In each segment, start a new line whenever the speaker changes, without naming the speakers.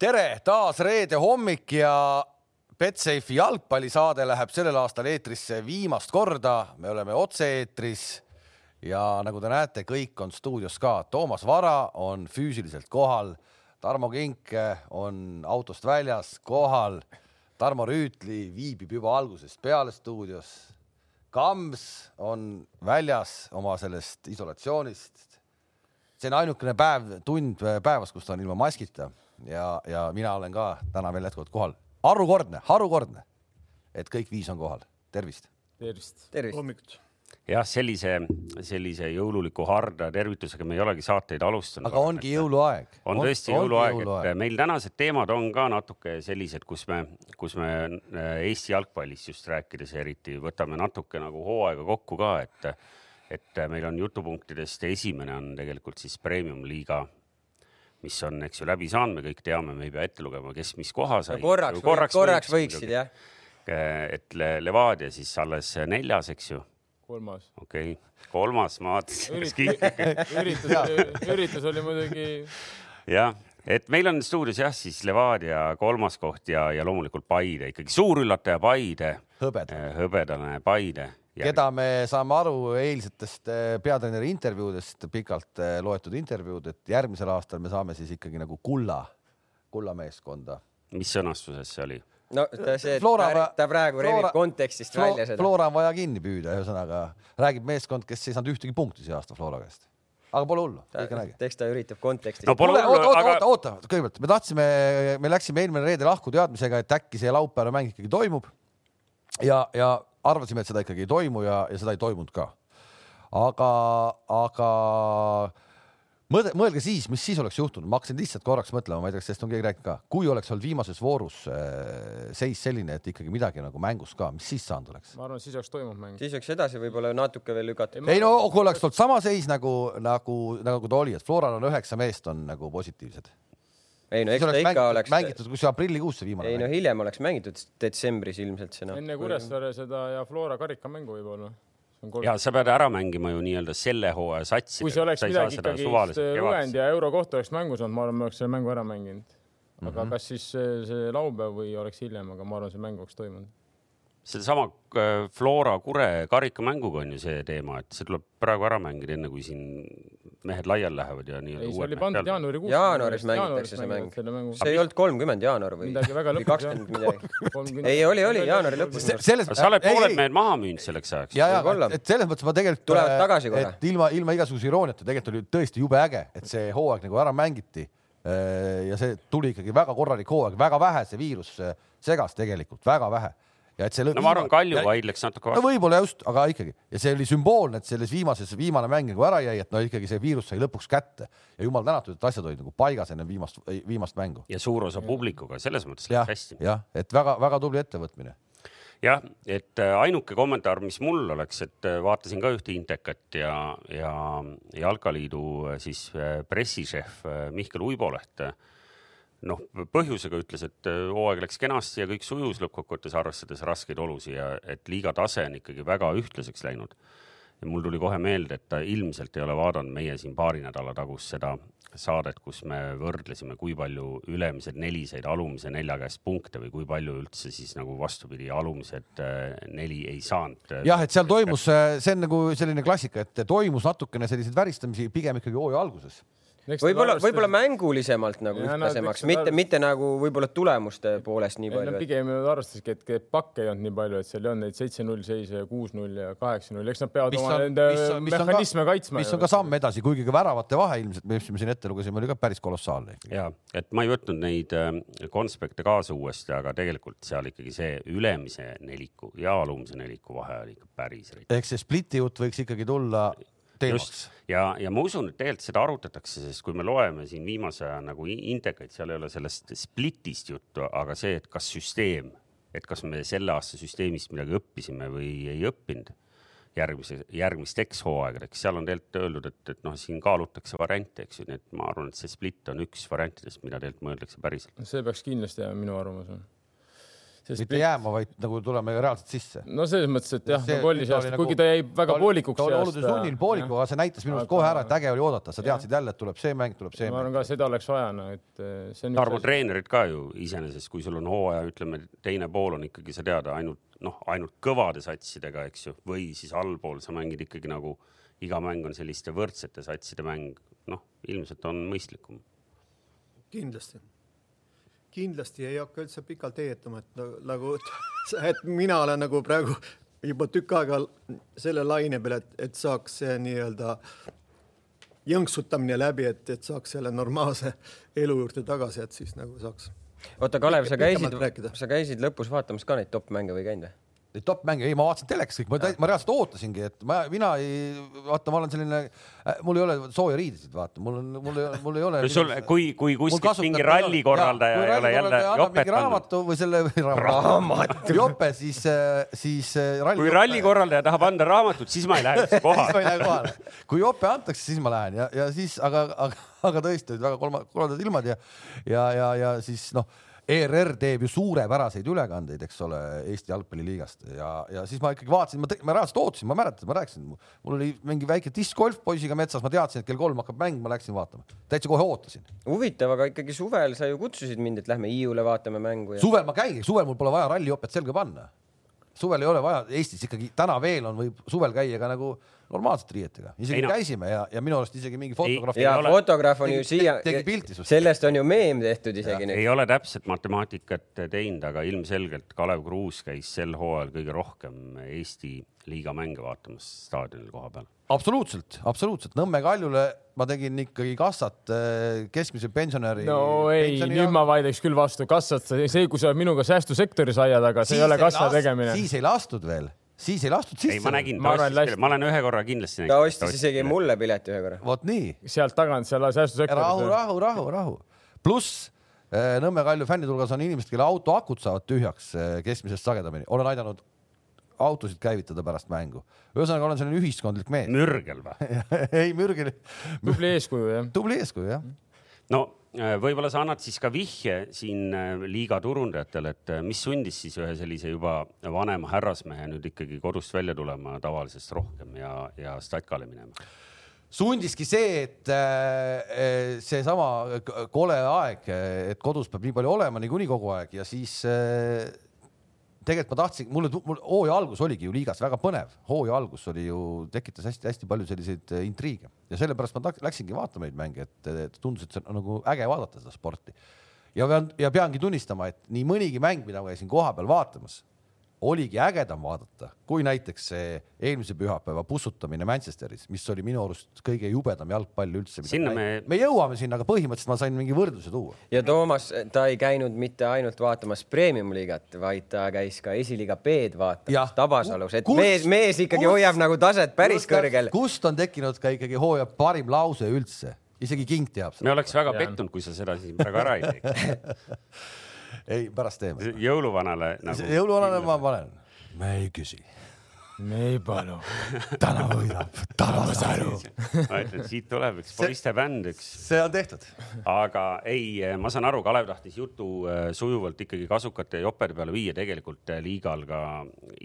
tere taas reede hommik ja Betsafe jalgpallisaade läheb sellel aastal eetrisse viimast korda, me oleme otse-eetris ja nagu te näete, kõik on stuudios ka, Toomas Vara on füüsiliselt kohal, Tarmo Kink eh, on autost väljas kohal, Tarmo Rüütli viibib juba algusest peale stuudios. Kams on väljas oma sellest isolatsioonist. see on ainukene päev, tund äh, päevas, kus ta on ilma maskita ja , ja mina olen ka täna veel jätkuvalt kohal. harukordne , harukordne , et kõik viis on kohal, tervist .
tervist .
tervist .
hommikut .
jah , sellise , sellise jõululiku harda tervitusega me ei olegi saateid alustanud .
aga ongi . jõuluaeg .
on tõesti jõuluaeg , et meil tänased teemad on ka natuke sellised , kus me , kus me äh, Eesti jalgpallist just rääkides eriti võtame natuke nagu hooaega kokku ka , et , et meil on jutupunktidest esimene on tegelikult siis premium liiga mis on , eks ju , läbi saanud , me kõik teame , me ei pea ette lugema , kes mis koha sai .
Nagu
korraks , korraks võiksid jah .
Äh, et Le- Levadia siis alles neljas , eks ju
kolmas .
okei okay. , kolmas maad ,
üritus , üritus oli muidugi
jah , et meil on stuudios jah , siis Levadia kolmas koht ja , ja loomulikult Paide ikkagi suur üllataja Paide ,
hõbed ,
hõbedane Paide .
keda me saame aru eilsetest eh, peatreeneri intervjuudest , pikalt eh, loetud intervjuud , et järgmisel aastal me saame siis ikkagi nagu kulla , kullameeskonda .
mis sõnastuses see oli ?
no ta see ,
Äh, Flora
ta,
va-
ta praegu
Flora-
rebib kontekstist
Flo,
välja seda .
Flora on vaja kinni püüda , ühesõnaga räägib meeskond , kes ei saanud ühtegi punkti see aasta Flora käest . aga pole hullu , kõik on äge .
eks ta üritab kontekstist
no
no, .
pole
kuule , oota ,
hullu ,
oota ,
aga
oota , oota , kõigepealt me tahtsime , me läksime eelmine reede lahku teadmisega , et äkki see laupäevane mäng ikkagi toimub . ja , ja arvasime , et seda ikkagi ei toimu ja , ja seda ei toimunud ka . aga , aga mõelge , mõelge siis , mis siis oleks juhtunud , ma hakkasin lihtsalt korraks mõtlema , ma ei tea , kas sellest on keegi rääkinud ka , kui oleks olnud viimases voorus äh, seis selline , et ikkagi midagi nagu mängus ka , mis siis saanud oleks ?
ma arvan , et siis oleks toimunud mäng .
siis oleks edasi võib-olla natuke veel lükatud .
ei no kui oleks olnud sama seis nagu , nagu , nagu ta oli , et Floral on üheksa meest , on nagu positiivsed
ei no
siis
eks ta
oleks
ikka
mängitud,
oleks .
mängitud , kus see aprillikuus see viimane
ei no
mäng .
hiljem oleks mängitud detsembris ilmselt see noh .
enne Kuressaare seda ja Flora karikamängu võib-olla .
ja sa pead ära mängima ju nii-öelda selle hooaja satsi .
kui see oleks midagi ikkagi lugenud ja euro kohta oleks mängus olnud , ma arvan , me oleks selle mängu ära mänginud . aga mm -hmm. kas siis see, see laupäev või oleks hiljem , aga ma arvan , see mäng oleks toimunud .
sedasama äh, Flora Kure karikamänguga on ju see teema , et see tuleb praegu ära mängida , enne kui siin mehed laiali lähevad ja
ei ,
nii-öelda
see oli pandud . jaanuarikuus .
Jaanuaris mängitakse see mäng.
selle mängu .
see ei olnud kolmkümmend jaanuar või
Midagi väga lõpus,
kakskümmend midagi . ei , oli , oli jaanuari lõpus .
selles
sa oled pooled
ei ,
mehed maha müünud selleks ajaks .
ja , ja
Võib-olla. ,
et selles mõttes ma tegelikult .
Tulevad tagasi korra.
et ilma , ilma igasuguse irooniata , tegelikult oli tõesti jube äge , et see hooaeg nagu ära mängiti . ja see tuli ikkagi väga korralik hooaeg , väga vähe see viirus äh, segas tegelikult , väga vähe . ja et see .
no ma arvan , Kalju . vaidleks natuke
no
vastu .
võib-olla just , aga ikkagi ja see oli sümboolne , et selles viimases , viimane mäng nagu ära jäi , et no ikkagi see viirus sai lõpuks kätte ja jumal tänatud , et asjad olid nagu paigas enne viimast , viimast mängu .
ja suur osa publikuga , selles mõttes
jah
läks hästi ,.
jah , et väga-väga tubli ettevõtmine
jah , et äh, ainuke kommentaar , mis mul oleks , et äh, vaatasin ka ühte Intekat ja , ja Jalkaliidu äh, siis äh, pressišef äh, Mihkel Uiboleht äh, noh , põhjusega ütles , et äh, hooaeg läks kenasti ja kõik sujus lõppkokkuvõttes , arvestades raskeid olusid ja et liiga tase on ikkagi väga ühtlaseks läinud . ja mul tuli kohe meelde , et ta ilmselt ei ole vaadanud meie siin paari nädala tagust seda saadet , kus me võrdlesime , kui palju ülemised neli said alumise nelja käest punkte või kui palju üldse siis nagu vastupidi , alumised äh, neli ei saanud . äh,
jah , et seal toimus , see on nagu selline klassika , et toimus natukene selliseid väristamisi pigem ikkagi hooaja alguses .
võib-olla , võib-olla . mängulisemalt nagu
Ja nad
ühtlasemaks ,
võiksid
mitte ,
arv-
mitte nagu võib-olla tulemuste poolest nii
ei no
palju .
pigem nad arvestasidki , et et pakke ei olnud nii palju , et seal ei olnud neid seitse-null seise ja kuus-null ja kaheksa-null , eks nad peavad oma nende mehhanisme kaitsma .
mis on ka samm edasi , kuigi ka väravate vahe ilmselt , mis me siin ette lugesime , oli ka päris kolossaalne .
ja et ma ei võtnud neid äh, konspekte kaasa uuesti , aga tegelikult seal ikkagi see ülemise neliku ja alumise neliku vahe oli ikka päris rikk .
ehk see spliti jutt võiks ikkagi tulla teemaks
just . ja , ja ma usun , et tegelikult seda arutatakse , sest kui me loeme siin viimase aja nagu in- indekaid , seal ei ole sellest splitist juttu , aga see , et kas süsteem , et kas me selle aasta süsteemist midagi õppisime või ei õppinud järgmise , järgmisteks hooaegadeks , seal on tegelikult öeldud , et , et noh , siin kaalutakse variante , eks ju , nii et ma arvan , et see split on üks variantidest , mida tegelikult mõeldakse päriselt .
see peaks kindlasti jääma , minu arvamus on .
Sest mitte jääma, vaid nagu tulema reaalselt sisse.
no selles mõttes, et jah, nagu oli see aasta, kuigi ta jäi väga poolikuks.
ta oli oluliselt sunnil pooliku, aga see näitas minu arust kohe ära, et äge oli oodata, sa teadsid jälle, et tuleb see mäng, tuleb see mäng.
ma arvan ka, seda oleks vaja, no et äh,
see on. Tarmo, treenerid ka ju iseenesest, kui sul on hooaja, ütleme, teine pool on ikkagi, sa tead, ainult noh, ainult kõvade satsidega, eks ju, või siis allpool sa mängid ikkagi nagu iga mäng on selliste võrdsete satside mäng, noh, ilmselt on mõistlikum.
kindlasti kindlasti ei hakka üldse pikalt heietama, et nagu, et mina olen nagu praegu juba tükk aega selle laine peal, et, et saaks see nii-öelda jõnksutamine läbi, et, et saaks selle normaalse elu juurde tagasi, et siis nagu saaks.
oota, Kalev, sa käisid, sa käisid lõpus vaatamas ka neid top mänge või käinud või?
Neid top mänge, ei, ma vaatasin telekas kõik, ma, ma reaalselt ootasingi, et ma, mina ei, vaata, ma olen selline, äh, mul ei ole sooja riidesid, vaata, mul on, mul ei ole, mul ei ole.
sul, kui, kui kuskilt mingi ralli korraldaja ei ole jälle jopet
andnud. või selle raamatu jope, siis, äh, siis
ralli. kui ralli korraldaja tahab anda raamatut, siis ma ei lähe üldse
kohale. kui jope antakse, siis ma lähen ja, ja siis, aga, aga, aga tõesti olid väga kolma, kolmandad ilmad ja, ja, ja, ja siis noh ERR teeb ju suurepäraseid ülekandeid, eks ole, Eesti jalgpalliliigast ja, ja siis ma ikkagi vaatasin, ma, ma reaalselt ootasin, ma mäletan, ma rääkisin, mul oli mingi väike discgolf poisiga metsas, ma teadsin, et kell kolm hakkab mäng, ma läksin vaatama, täitsa kohe ootasin.
huvitav, aga ikkagi suvel sa ju kutsusid mind, et lähme Hiiule vaatame mängu
ja.... suvel ma käingi, suvel mul pole vaja rallijopet selga panna. suvel ei ole vaja, Eestis ikkagi täna veel on, võib suvel käia ka nagu normaalselt riietega, isegi ei, no. käisime ja, ja minu arust isegi mingi fotograaf.
ja ole... fotograaf on ju siia, sellest on ju meem tehtud isegi.
ei ole täpset matemaatikat teinud, aga ilmselgelt Kalev Kruus käis sel hooajal kõige rohkem Eesti liiga mänge vaatamas staadionil kohapeal.
absoluutselt, absoluutselt. Nõmme Kaljule ma tegin ikkagi kassat äh, keskmise pensionäri.
no ei, nüüd ma vaidleks küll vastu, kassat, see, kui sa minuga säästusektoris aia taga, see ei ole kassa last, tegemine.
siis ei lastud veel siis ei lastud sisse.
ei, ma nägin, ta ostis, ma olen ühe korra kindlasti näinud.
ta ostis isegi mulle pileti ühe korra.
vot nii.
sealt tagant, seal säästusektoris.
rahu, rahu, rahu, rahu. pluss äh, Nõmme Kalju fännide hulgas on inimesed, kelle auto akud saavad tühjaks äh, keskmisest sagedamini. olen aidanud autosid käivitada pärast mängu. ühesõnaga olen selline ühiskondlik mees.
mürgel või
ei, mürgel.
tubli eeskuju, jah.
tubli eeskuju, jah.
no äh, võib-olla sa annad siis ka vihje siin äh, liiga turundajatele, et äh, mis sundis siis ühe sellise juba vanema härrasmehe nüüd ikkagi kodust välja tulema tavalisest rohkem ja, ja statkale minema?
sundiski see, et seesama kole aeg, et kodus peab nii palju olema niikuinii kogu aeg ja siis äh, tegelikult ma tahtsin, mulle, mul hooaja algus oligi ju liigas väga põnev, hooaja algus oli ju, tekitas hästi-hästi palju selliseid eh, intriige ja sellepärast ma läksingi vaatama neid mänge, et tundus, et see on nagu äge vaadata seda sporti. ja pean, ja peangi tunnistama, et nii mõnigi mäng, mida ma käisin kohapeal vaatamas, oligi ägedam vaadata, kui näiteks see eelmise pühapäeva pussutamine Manchesteris, mis oli minu arust kõige jubedam jalgpall üldse.
sinna me.
me jõuame sinna, aga põhimõtteliselt ma sain mingi võrdluse tuua.
ja Toomas, ta ei käinud mitte ainult vaatamas premium-liigat, vaid ta käis ka esiliiga B-d vaatamas Tabasalus, et kust, mees, mees ikkagi kust, hoiab nagu taset päris kust, kõrgel.
kust on tekkinud ka ikkagi hooaja parim lause üldse, isegi King teab
seda. me oleks väga pettunud, kui sa seda siin praegu ära ei teeks
ei, pärast teeme.
jõuluvanale
nagu.... jõuluvanale ma panen. me ei küsi.
me ei palu.
täna võidab Tabasalu.
ma ütlen, siit tuleb üks poiste bänd, üks.
see on tehtud.
aga ei, eh, ma saan aru, Kalev tahtis jutu eh, sujuvalt ikkagi kasukate ja jopede peale viia, tegelikult eh, liigal ka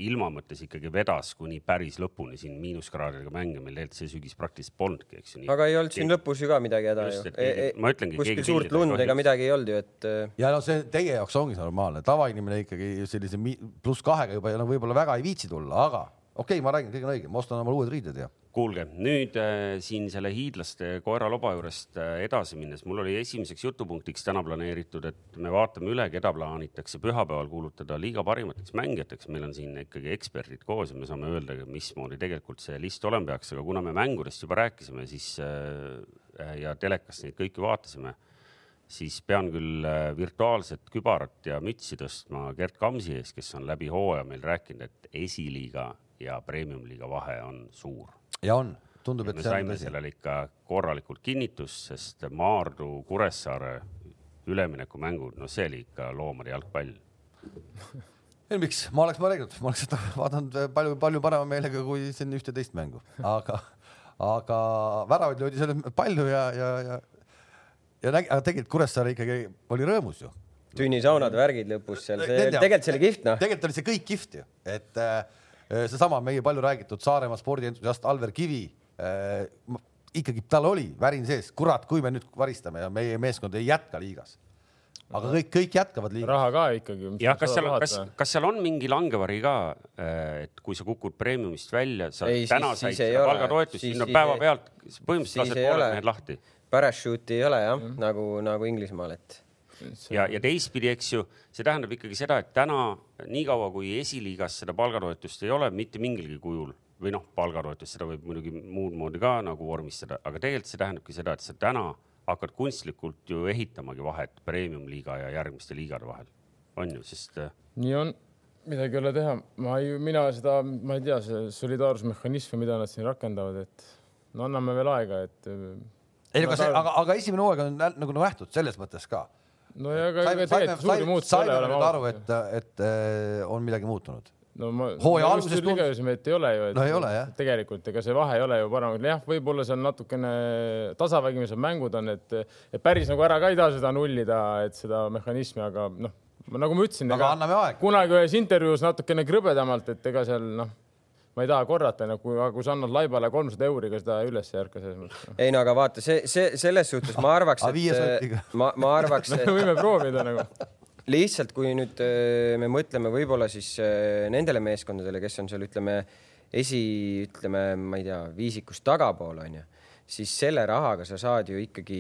ilma mõttes ikkagi vedas kuni päris lõpuni siin miinuskraadidega mänge, meil tegelikult see sügis praktiliselt polnudki, eks ju.
aga ei olnud siin lõpus ju ka midagi häda ju. E-
ma ütlengi.
kuskil suurt lund ega midagi ei olnud ju, et. äh,
ja no see teie jaoks ongi normaalne, tavainimene ikkagi sellise pluss kahega juba no võib-olla väga ei viitsi tulla, aga okei okay,, ma räägin, kõik on õige, ma ostan omale uued riided ja.
kuulge nüüd äh, siin selle hiidlaste koeraloba juurest äh, edasi minnes, mul oli esimeseks jutupunktiks täna planeeritud, et me vaatame üle, keda plaanitakse pühapäeval kuulutada liiga parimateks mängijateks. meil on siin ikkagi eksperdid koos ja me saame öelda, mismoodi tegelikult see list olema peaks, aga kuna me mängudest juba rääkisime, siis äh, ja telekast neid kõiki vaatasime siis pean küll äh, virtuaalset kübarat ja mütsi tõstma Gerd Kamsi ees, kes on läbi hooaja meil rääkinud, et esiliiga ja premium-liiga vahe on suur.
ja on, tundub,
et. me saime sellele ikka korralikult kinnitust, sest Maardu, Kuressaare üleminekumängud, no see oli ikka loomade jalgpall
ei miks, ma oleks mõelnud, ma oleks seda vaadanud palju-palju parema meelega kui siin ühte teist mängu, aga, aga väravaid löödi seal palju ja, ja, ja ja nägi, aga tegelikult Kuressaare ikkagi oli rõõmus ju
tünnisaunad, värgid lõpus seal, see
Nende-
tegelikult see oli kihvt noh .
tegelikult oli see kõik kihvt ju , et äh, seesama meie palju räägitud Saaremaa spordientusiast Alver Kivi äh, , ikkagi tal oli värin sees , kurat , kui me nüüd varistame ja meie meeskond ei jätka liigas . aga kõik , kõik jätkavad liigas .
raha ka ikkagi .
jah , kas seal , kas , kas seal on mingi langevari ka , et kui sa kukud premiumist välja , sa
Ei,
ei,
siis-
täna
siis
said
ei
seda
ole.
palgatoetust ,
Siis-
siis no
siis
päevapealt põhimõtteliselt
siis
lased
ei ole.
pooled mehed lahti
Parachute'i ei ole jah mm , -hmm. nagu , nagu Inglismaal , et
ja , ja teistpidi , eks ju , see tähendab ikkagi seda , et täna niikaua kui esiliigas seda palgatoetust ei ole mitte mingilgi kujul või noh , palgatoetust , seda võib muidugi muud moodi ka nagu vormistada , aga tegelikult see tähendabki seda , et sa täna hakkad kunstlikult ju ehitamagi vahet premium-liiga ja järgmiste liigade vahel , on ju , sest äh,
nii on , midagi ei ole teha , ma ei , mina seda , ma ei tea , see solidaarsusmehhanism , mida nad siin rakendavad , et no anname veel aega , et .
ei , aga see , aga , aga esimene hooaeg on nä- nagu nähtud selles mõttes ka .
no ja aga
saime
ega ,
saime,
tegelikult suuri
saime,
muutusi ei
saime
ole .
nüüd aru , et , et äh, on midagi muutunud .
no ma
hooaja
ma
alguses
just
tundus-
lugesime , et ei ole ju .
No ei ole, jah.
tegelikult ega see vahe ei ole ju parem , jah , võib-olla see on natukene tasavägimised mängud on , et et päris nagu ära ka ei taha seda nullida , et seda mehhanismi , aga noh , nagu ma ütlesin .
Aga anname aega.
kunagi ühes intervjuus natukene krõbedamalt , et ega seal noh , ma ei taha korrata , nagu , aga kui sa annad laibale kolmsada euri , ega seda üles ei ärka selles mõttes . noh.
ei no aga vaata , see , see selles suhtes ma arvaks ,
Aga viie
et äh,
sotiga.
ma , ma arvaks , et
me võime proovida nagu .
lihtsalt , kui nüüd öö, me mõtleme võib-olla siis öö, nendele meeskondadele , kes on seal , ütleme esi , ütleme , ma ei tea , viisikust tagapool onju , siis selle rahaga sa saad ju ikkagi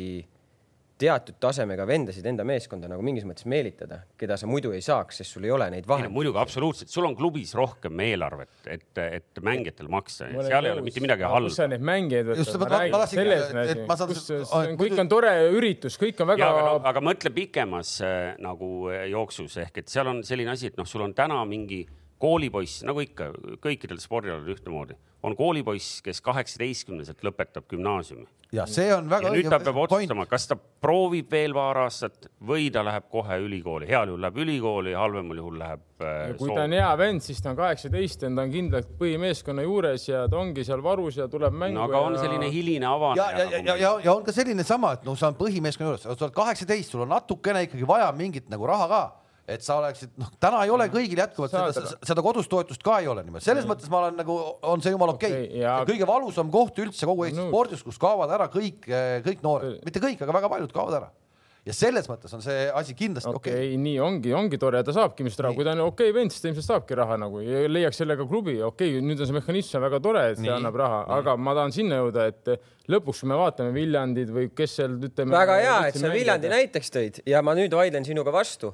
teatud tasemega vendasid enda meeskonda nagu mingis mõttes meelitada , keda sa muidu ei saaks , sest sul ei ole neid
ei no
vahendeid .
muidugi absoluutselt , sul on klubis rohkem eelarvet , et , et mängijatel maksta ,
Ma olen
seal ei ole
nõus.
mitte midagi
Aga Kus
halba
sa . neid mängijaid
Just
võtad ,
ma
ma
ta- ma
räägin ,
tahtsingi-
selles
et-
on
et ma saan-
asi . kus see
aa,
on , kõik
muidu-
on tore üritus , kõik on
Ja,
väga
aga, no, aga mõtle pikemas äh, nagu äh, jooksus ehk et seal on selline asi , et noh , sul on täna mingi koolipoiss , nagu ikka kõikidel spordialadel ühtemoodi , on koolipoiss , kes kaheksateistkümneselt lõpetab gümnaasiumi
ja see on
ja
väga
nüüd ta peab otsustama , kas ta proovib veel paar aastat või ta läheb kohe ülikooli , heal juhul läheb ülikooli , halvemal juhul läheb äh,
ja kui ta on
Soome .
hea vend , siis ta on kaheksateist ja ta on kindlalt põhimeeskonna juures ja ta ongi seal varus ja tuleb mängu .
no aga on selline hiline nagu
ja , ja , ja , ja,
avaneja .
ja , ja on ka selline sama , et no sa oled põhimeeskonna juures , sa oled kaheksateist , sul on natukene ikkagi vaja mingit nagu raha ka , et sa oleksid , noh , täna ei ole kõigil jätkuvalt seda,
Saad-
seda kodustoetust ka ei ole niimoodi , selles mõttes ma olen nagu , on see jumala okei okay,
Okei, ja-
okay, . kõige valusam koht üldse kogu Eesti
Nõus.
spordis , kus kaovad ära kõik , kõik noored , mitte kõik , aga väga paljud kaovad ära . ja selles mõttes on see asi kindlasti
okei
okei okay.
okay, , nii ongi , ongi tore , ta saabki ilmselt raha , kui ta on okei okay, vend , siis ta ilmselt saabki raha nagu ja leiaks sellega klubi , okei okay, , nüüd on see mehhanism väga tore , et see annab raha , aga ma tahan sinna jõuda , et lõpuks , kui me vaatame Viljandid või kes seal ütleme .
väga hea , et sa Viljandi näiteks tõid ja ma nüüd vaidlen sinuga vastu .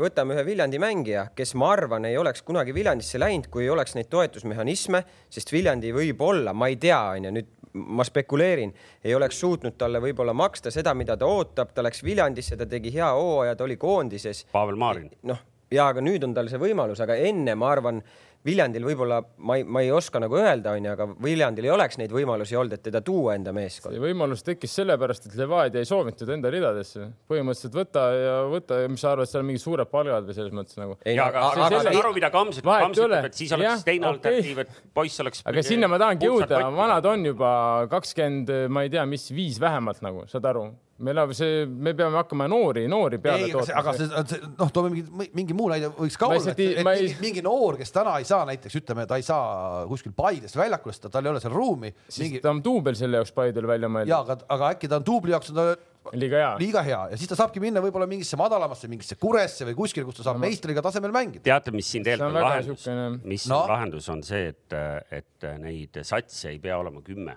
võtame ühe Viljandi mängija , kes ma arvan , ei oleks kunagi Viljandisse läinud , kui ei oleks neid toetusmehhanisme , sest Viljandi võib-olla , ma ei tea , onju , nüüd ma spekuleerin , ei oleks suutnud talle võib-olla maksta seda , mida ta ootab , ta läks Viljandisse , ta tegi hea hooaja , ta oli koondises
Pavel Maarin .
noh , ja aga nüüd on tal see võimalus , aga enne ma arvan , Viljandil võib-olla ma ei , ma ei oska nagu öelda , onju , aga Viljandil ei oleks neid võimalusi olnud , et teda tuua enda meeskonda .
see võimalus tekkis sellepärast , et Levadia ei soovinud teda enda ridadesse . põhimõtteliselt võta ja võta , mis sa arvad , seal on mingid suured palgad või selles mõttes nagu .
Ei, no
ja aga ,
aga-
aga sa saad
aga-
aru , mida Kams ütleb ,
Vahet
Kams
ei ole.
ütleb , et siis oleks
Jah,
ja, teine
okei.
okay. alternatiiv , et poiss oleks .
aga sinna ma tahangi jõuda , vanad on juba kakskümmend , ma ei tea , mis viis vähemalt nagu , saad aru , meil on see , me peame hakkama noori , noori peale
ei , aga
tootma .
see, see noh , toome mingi , mingi muu näide , võiks ka
Ma
olla ,
lihtsalt
et,
ei-
et
ma ei-
mingi, mingi noor , kes täna ei saa näiteks ütleme , ta ei saa kuskil Paides väljakule , sest ta- tal ei ole seal ruumi .
siis ta on duubel selle jaoks Paidel välja
ja
mõeldud ,
aga , aga äkki ta on duubli jaoks on ta
liiga hea .
liiga hea ja siis ta saabki minna võib-olla mingisse madalamasse , mingisse Kuresse või kuskile , kus ta saab meistriga tasemel mängida .
teate , mis siin
See on
tegelikult on
väga
lahendus
siukene- ,
mis
No.
no. lahendus on see , et , et äh, neid satse ei pea olema kümme ,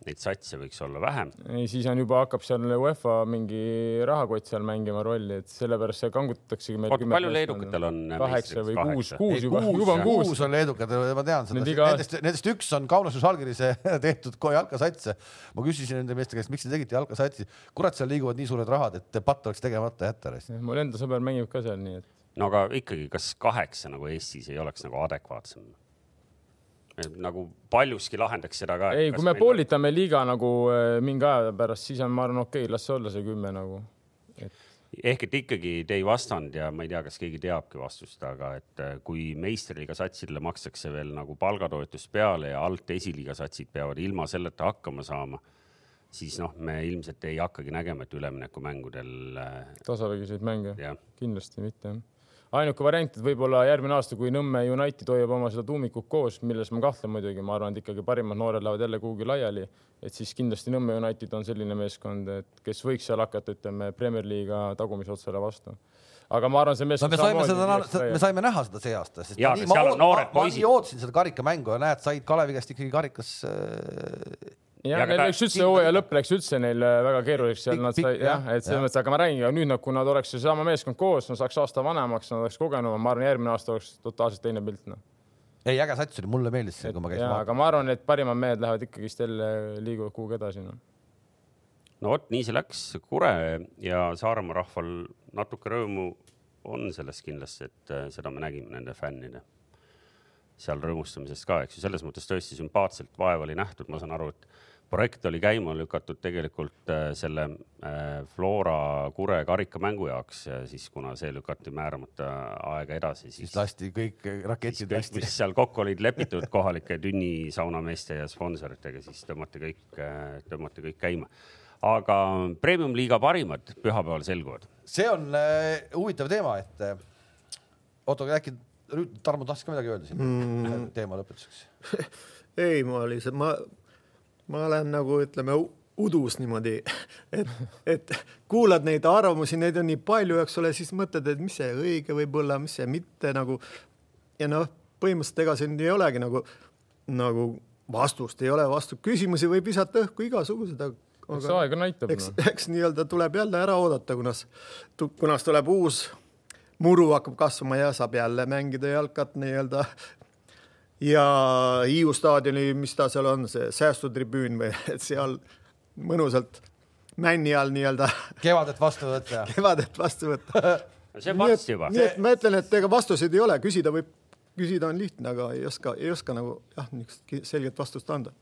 neid satse võiks olla vähem .
ei , siis on juba hakkab seal UEFA mingi rahakott seal mängima rolli , et sellepärast see kangutataksegi meil .
Oota, palju leedukatel on
kaheksa
meistriks?
või kuus
Kaheksa. ,
kuus juba , juba on kuus .
on leedukad , ma tean seda
Nüüd . iga aasta-
Nendest , nendest üks on Kaunases Žalgirise tehtud ko- jalkasatse . ma küsisin nende meeste käest , miks te tegite jalkasatsi . kurat , seal liiguvad nii suured rahad , et patt oleks tegemata jätta .
mul enda sõber mängib ka seal , nii et
no aga ikkagi , kas kaheksa nagu Eestis ei oleks nagu adekvaatsem ? nagu paljuski lahendaks seda ka .
ei , kui me poolitame liiga nagu äh, mingi aja pärast , siis on , ma arvan , okei okay, , las see olla see kümme nagu .
ehk et ikkagi te ei vastanud ja ma ei tea , kas keegi teabki vastust , aga et äh, kui meistriliiga satsidele makstakse veel nagu palgatoetus peale ja alt esiliiga satsid peavad ilma selleta hakkama saama , siis noh , me ilmselt ei hakkagi nägema , et üleminekumängudel äh,
tasavägiseid mänge
Jah.
kindlasti mitte jah. ainuke variant , et võib-olla järgmine aasta , kui Nõmme United hoiab oma seda tuumikut koos , milles ma kahtlen muidugi , ma arvan , et ikkagi parimad noored lähevad jälle kuhugi laiali , et siis kindlasti Nõmme United on selline meeskond , et kes võiks seal hakata , ütleme Premier League'i tagumise otsale vastu . aga ma arvan , see
no
meeskond
me saime seda , me saime näha seda see aasta , sest
Jaa,
ma nii-
aga seal
ma
on noored
oot- ma nii
poisid.
ootasin seda karikamängu ja näed , said Kalevi käest ikkagi karikas äh,
jah
Ja , aga
neil
ta-
läks üldse hooaja lõpp läks üldse neil äh, väga keeruliseks , seal
Pikk-
nad
pikk,
sai jah ,
jah,
et selles
jah.
mõttes , aga ma räägin , nüüd nad , kui nad oleks seesama meeskond koos , nad saaks aasta vanemaks , nad oleks kogenum , ma arvan , järgmine aasta oleks totaalselt teine pilt noh .
ei äge sats oli , mulle meeldis see , kui ma käisin
ja ,
vaatamas .
aga ma arvan , et parimad mehed lähevad ikkagist jälle , liiguvad kuhugi edasi noh .
no vot , nii see läks , Kure ja Saaremaa rahval natuke rõõmu on selles kindlasti , et äh, seda me nägime nende fännide seal rõõmustamisest ka , eks ju , selles mõttes tõesti sümpaatselt vaeva oli nähtud , ma saan aru , et projekt oli käima lükatud tegelikult äh, selle äh, Flora Kure karikamängu jaoks , siis kuna see lükati määramata aega edasi , siis
siis lasti kõik raketid
kõik ,
hästi
mis . seal kokku olid lepitud kohalike tünni saunameeste ja sponsoritega , siis tõmmati kõik , tõmmati kõik käima . aga premium-liiga parimad pühapäeval selguvad .
see on äh, huvitav teema , et äh, oota , aga äkki Rüüt- Tarmo tahtis ka midagi öelda siin mm. teema lõpetuseks .
ei , ma lihtsalt , ma , ma olen nagu ütleme u- udus niimoodi , et , et kuulad neid arvamusi , neid on nii palju , eks ole , siis mõtled , et mis see õige võib olla , mis see mitte nagu ja noh , põhimõtteliselt ega siin ei olegi nagu , nagu vastust ei ole , vastu küsimusi võib visata õhku igasuguseid , aga
eks aeg näitab
eks
noh .,
eks nii-öelda tuleb jälle ära oodata , kunas , kunas tuleb uus muru hakkab kasvama ja saab jälle mängida jalkat nii-öelda . ja Hiiu staadioni , mis ta seal on , see säästutribüün või , et seal mõnusalt männi all nii-öelda
kevadet vastu võtta .
kevadet vastu võtta .
see on
nii
varsti
et ,
juba .
nii et ma ütlen , et ega vastuseid ei ole , küsida võib , küsida on lihtne , aga ei oska , ei oska nagu jah , niisugust ki- selget vastust anda .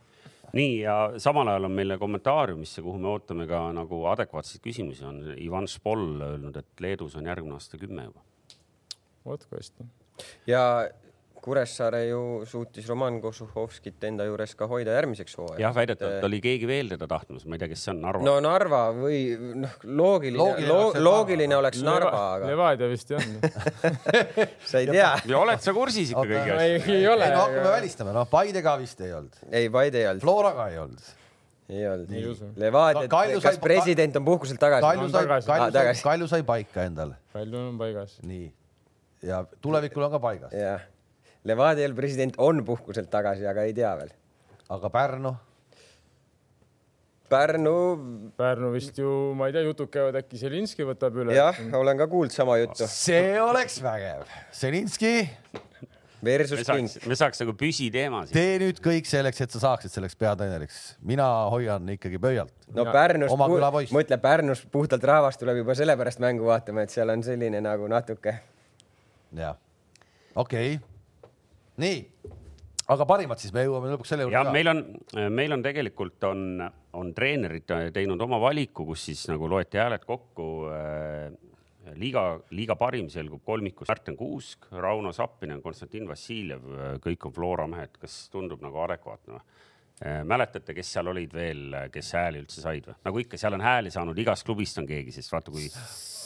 nii ja samal ajal on meile kommentaariumisse , kuhu me ootame ka nagu adekvaatseid küsimusi , on Ivan Špol öelnud , et Leedus on järgmine aasta kümme juba .
vot kui hästi .
ja Kuressaare ju suutis Roman Košuhovskit enda juures ka hoida järgmiseks hooajaks .
jah , väidetavalt oli keegi veel teda tahtmas , ma ei tea , kes see on , Narva
no . Narva või noh , loogiline ,
Loogiline oleks, et
loogiline, lo loogiline oleks Narva , aga
Levadia vist jah .
sa ei tea .
ja oled sa kursis ikka
Oota,
kõigi
no
asjadega ?
ei , ei
ei
ole
no . hakkame välistama , noh , Paide ka vist ei olnud ,
ei , Paide ei olnud ,
Flora ka ei olnud .
ei
Ei usu.
olnud . Levadia
Ka- , Kalju
kas
sai-
president on puhkuselt tagasi ?
Kalju
on
sai ,
tagasi.
Kalju
Ah,
sai ,
tagasi.
Kalju sai paika endale ,
palju on paigas .
nii . ja tulevikul on ka paigas ,
jah , Levadial president on puhkuselt tagasi , aga ei tea veel .
aga Pärnu ,
Pärnu ,
Pärnu vist ju , ma ei tea , jutud käivad , äkki Zelinski võtab üle .
jah , olen ka kuulnud sama juttu .
see oleks vägev . Zelinski ,
Versus
me
King
saaks , me saaks nagu püsiteema siin .
tee nüüd kõik selleks , et sa saaksid selleks peatreeneriks , mina hoian ikkagi pöialt .
no Pärnus
Oma küla , poiss.
mõtle Pärnus puhtalt rahvast tuleb juba sellepärast mängu vaatama , et seal on selline nagu natuke .
jah , okei okay. , nii , aga parimad siis me jõuame lõpuks selle
ja
juurde ka .
meil on , meil on tegelikult on , on treenerid äh, teinud oma valiku , kus siis nagu loeti hääled kokku . liiga , liiga parim selgub kolmikus Märten Kuusk , Rauno Sappinen , Konstantin Vassiljev , kõik on Flora mehed , kas tundub nagu adekvaatne või ? mäletate , kes seal olid veel , kes hääli üldse said või ? nagu ikka , seal on hääli saanud , igast klubist on keegi , sest vaata , kui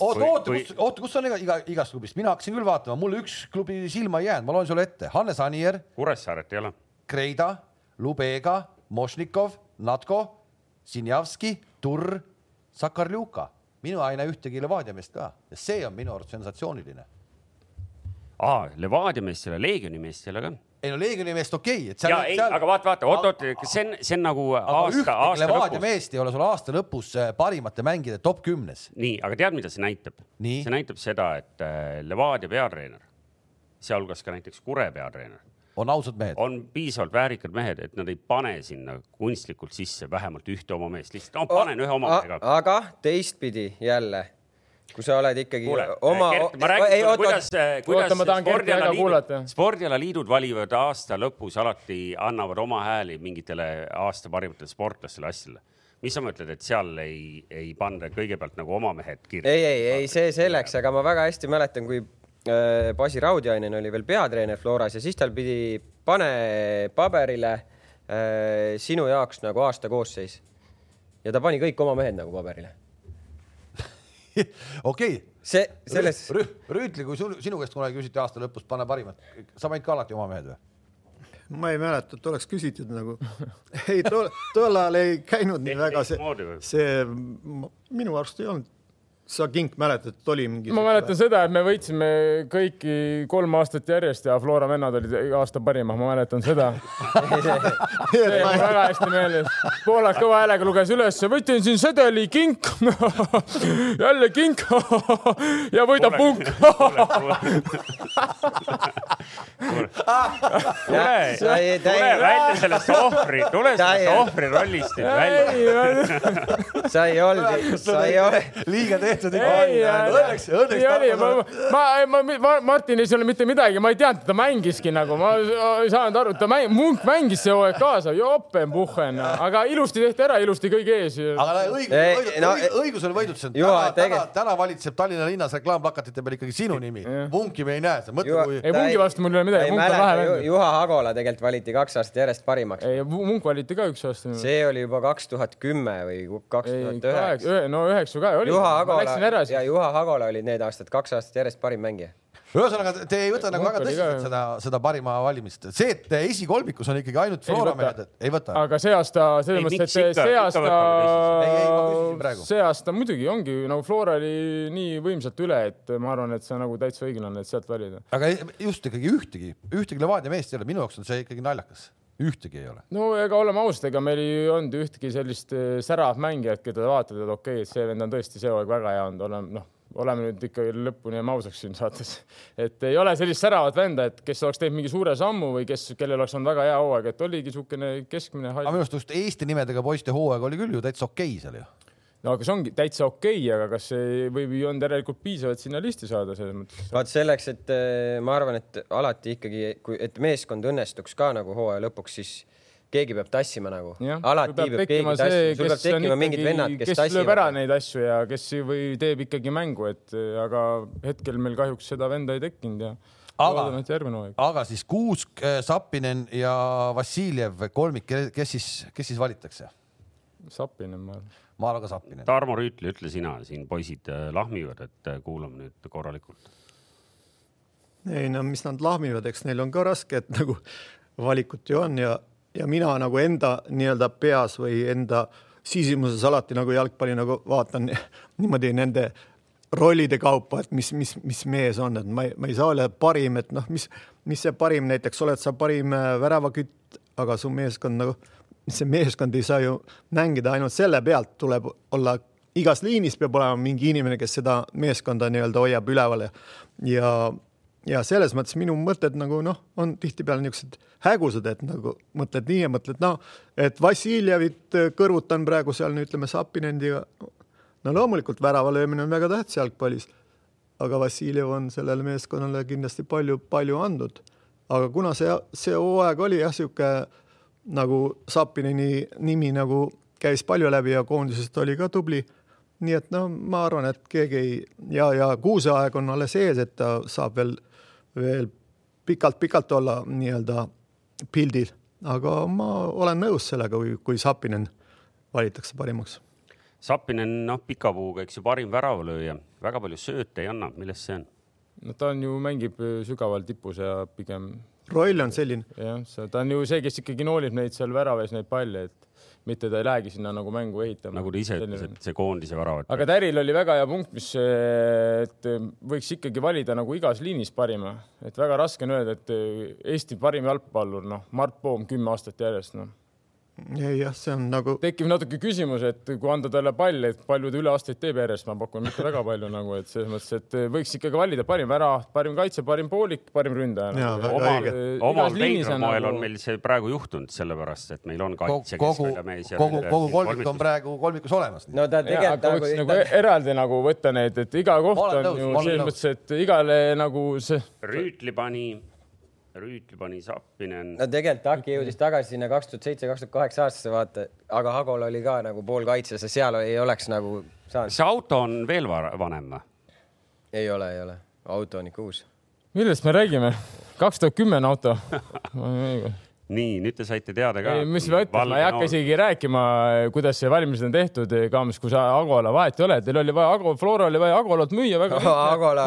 oota ,
kui-
oota ,
kui-
kus , oota , kus on iga, iga , igast klubist , mina hakkasin küll vaatama , mul üks klubi silma ei jäänud , ma loen sulle ette , Hannes Anier ,
Kuressaaret ei ole .
Kreida , Lubega , Mošnikov , Natko , Sinjavski , Turr , Sakarljuka , mina ei näe ühtegi Levadia meest ka ja see on minu arust sensatsiooniline .
aa , Levadia meest ei ole , Leegioni meest ei ole ka
ei no Leegioni meest okei okay, , et
ja
seal .
ei , aga vaata , vaata , oot-oot , see on , see on nagu
aga
aasta ,
ühtegi
aasta
Levadia
lõpus .
meest ei ole sul aasta lõpus äh, parimate mängijate top kümnes .
nii , aga tead , mida see näitab ?
Nii.
see näitab seda , et äh, Levadia peatreener , sealhulgas ka näiteks Kure peatreener ,
on ausad mehed .
on piisavalt väärikad mehed , et nad ei pane sinna kunstlikult sisse vähemalt ühte oma meest , lihtsalt no panen ühe oma meega .
aga teistpidi jälle , kui sa oled ikkagi
kuule ,
oma .
Gert , ma räägin sulle , kuidas , kuidas
Oota, ma tahan Gerti väga
spordialaliidud
kuulata. ,
spordialaliidud valivad aasta lõpus alati , annavad oma hääli mingitele aasta parimatele sportlastele , asjadele . mis sa mõtled , et seal ei , ei panda kõigepealt nagu oma mehed kirja ?
ei , ei , ei , see selleks , aga ma väga hästi mäletan , kui äh, Basi Raudjainen oli veel peatreener Floras ja siis tal pidi pane paberile äh, sinu jaoks nagu aasta koosseis . ja ta pani kõik oma mehed nagu paberile .
okei ,
see , selles ,
Rüütli , kui sul , sinu käest kunagi küsiti aasta lõpus , pane parimad , sa panid ka alati oma mehed või ?
ma ei mäleta , et oleks küsitud nagu . ei , tol , tol ajal ei käinud nii
Tehti
väga see
teistmoodi või? ,
see m- minu arust ei olnud . sa , Kink , mäletad , et oli mingi .
ma mäletan . seda , et me võitsime kõiki kolm aastat järjest ja Flora vennad olid aasta parimad , ma mäletan seda . see on mul väga hästi meeles . Poolak kõva häälega luges üles , võtsin siin sedeli kink , jälle kink ja võidab punk .
tule ,
sa ei- ta ei-
tule välja sellest ohvri , tule
Ta ei-
sellest ohvri rollist nüüd välja .
sa ei olnud , sa ei ole ,
liiga tehtud
ei ,
õnneks , õnneks
ma , ma, ma, ma , Martin ei saanud mitte midagi , ma ei teadnud , ta mängiski nagu , ma ei saanud aru , ta mäng, , Munk mängis see E hooaeg kaasa , jope-puhhen , aga ilusti tehti ära , ilusti kõigi ees .
aga no õigus ,
Ei,
õigus,
no,
õigus , õigus on võidud , see on täna
Juha, ,
täna
tegelikult- ,
täna valitseb Tallinna linnas reklaamplakatite peal ikkagi sinu nimi . punki me ei näe seal , mõtle
Juha-
kui
Ei, Mungi vastu mul ei ole midagi,
ei
Munk on
mäleta,
lahe
Ju-
mängija.
Juha Agola tegelikult valiti kaks aastat järjest parimaks .
ei , Munk valiti ka üks aasta .
Mm. see oli juba kaks tuhat kümme või kaks
ei ,
tuhat üheksa .
üheksa , no üheksa ka oli .
Juha
ma
Agola
läksin ära
ja
siis .
Juha Agola olid need aastad kaks aastat järjest parim mängija .
ühesõnaga , te ei võta nagu
Munk
väga
oli ka
tõsiselt
ju.
seda , seda parima valimist . see , et esikolmikus on ikkagi ainult
Ei
Flora
võta.
mehed , ei võta .
aga see aasta , selles
Ei,
mõttes ,
miks
et
ikka-
see
ikka
aasta Äh,
võtame teisest.
Ei, ei, ma küsisin praegu. ,
see aasta muidugi ongi nagu Flora oli nii võimsalt üle , et ma arvan , et see on nagu täitsa õiglane , et sealt valida .
aga ei- just ikkagi ühtegi , ühtegi Levadia meest ei ole , minu jaoks on see ikkagi naljakas . ühtegi ei ole .
no ega oleme ausad , ega meil ei olnud ühtegi sellist eh, särav mängijat , keda vaatad , et okei okay, , et see vend on tõesti see hooaeg väga hea olnud , oleme noh , oleme nüüd ikka lõpuni jääme ausaks siin saates . et ei ole sellist säravat venda , et kes oleks teinud mingi suure sammu või kes , kellel oleks olnud väga hea hooaeg , et oligi niisugune keskmine
aga
hall .
minu arust just Eesti nimedega poiste hooaeg oli küll ju täitsa okei seal ju .
no aga see ongi täitsa okei okay, , aga kas ei või ei olnud järelikult piisav , et sinna listi saada selles mõttes ?
vaat selleks , et eh, ma arvan , et alati ikkagi , kui , et meeskond õnnestuks ka nagu hooaja lõpuks , siis keegi peab tassima nagu .
Jah,
alati
sul
peab, keegi tassima , sul peab
kes on
tekkima mingid
ikkagi-
vennad , kes,
kes lööb ära
tassivad .
neid asju ja kes ei- või teeb ikkagi mängu , et äh, aga hetkel meil kahjuks seda venda ei tekkinud ja
Aga-
loodame , et järgmine hooaeg .
aga siis Kuusk , Sapinen ja Vassiljev kolmik , kes siis , kes siis valitakse ?
Sapinen , ma arvan .
ma arvan ka Sapinen .
Tarmo Rüütli , ütle sina , siin poisid äh, lahmivad , et äh, kuulame nüüd korralikult .
ei no mis nad lahmivad , eks neil on ka raske , et nagu valikut ju on ja , ja mina nagu enda nii-öelda peas või enda sisimuses alati nagu jalgpalli nagu vaatan niimoodi nende rollide kaupa , et mis , mis , mis mees on , et ma ei , ma ei saa olla parim , et noh , mis , mis see parim näiteks oled sa parim äh, väravakütt , aga su meeskond nagu , see meeskond ei saa ju mängida ainult selle pealt , tuleb olla igas liinis peab olema mingi inimene , kes seda meeskonda nii-öelda hoiab üleval ja- ja ja selles mõttes minu mõtted nagu noh , on tihtipeale niisugused hägusad , et nagu mõtled nii ja mõtled naa , et Vassiljevit äh, kõrvutan praegu seal no ütleme Sapinendiga . no loomulikult värava löömine on väga tähtis jalgpallis , aga Vassiljev on sellele meeskonnale kindlasti palju-palju andnud . aga kuna see , see hooaeg oli jah , niisugune nagu Sapineni nimi nagu käis palju läbi ja koondisest oli ka tubli nii et no ma arvan , et keegi ei ja , ja kuuseaeg on alles ees , et ta saab veel , veel pikalt-pikalt olla nii-öelda pildil , aga ma olen nõus sellega , kui , kui Sapinen valitakse parimaks .
Sapinen , noh , pika puuga , eks ju , parim väravalööja , väga palju sööte ei anna , millest see on ?
no ta on ju , mängib öö, sügaval tipus ja pigem
roll on selline ,
jah , ta on ju see , kes ikkagi noolib neid seal väravas , neid palle , et mitte ta ei lähegi sinna nagu mängu ehitama .
nagu ta ise ütles , et see koondise väravat .
aga Täril oli väga hea punkt , mis , et eh, võiks ikkagi valida nagu igas liinis parima , et väga raske on öelda , et eh, Eesti parim jalgpallur , noh , Mart Poom kümme aastat järjest , noh .
ei jah , see on nagu
tekib natuke küsimus , et kui anda talle pall , et palju ta üle aastaid teeb järjest , ma pakun mitte väga palju nagu , et selles mõttes , et võiks ikkagi valida parim ära , parim kaitse , parim poolik , parim ründaja noh.
Jaa, väga
omal
õige. ,
omal veidral moel
nagu-
on meil see praegu juhtunud , sellepärast et meil on kaitse ,
kogu , kogu , kogu kolmik on praegu kolmikus olemas .
no ta
Ja, aga võiks
tegelikult
nagu
nagu ,
eraldi nagu võtta neid , et iga
Ma
koht
olen
on
nõus,
ju
ma olen
selles
nõus.
mõttes , et igale nagu see ,
Rüütli pani , Rüütli pani Sapinen
no tegelikult Taki jõudis tagasi sinna kaks tuhat seitse , kaks tuhat kaheksa aastasse vaata , aga Agola oli ka nagu poolkaitses ja seal ei oleks nagu saanud .
see auto on veel vara- vanem või ?
ei ole , ei ole , auto on ikka uus .
millest me räägime , kaks tuhat kümme on auto .
nii nüüd te saite teada ka
ei , mis ma ütlen , ma ei hakka isegi rääkima , kuidas see valmis on tehtud , Kaamas , kui sa Agola vahet ei ole , teil oli vaja Ago , Flora oli vaja Agolat müüa väga
Agola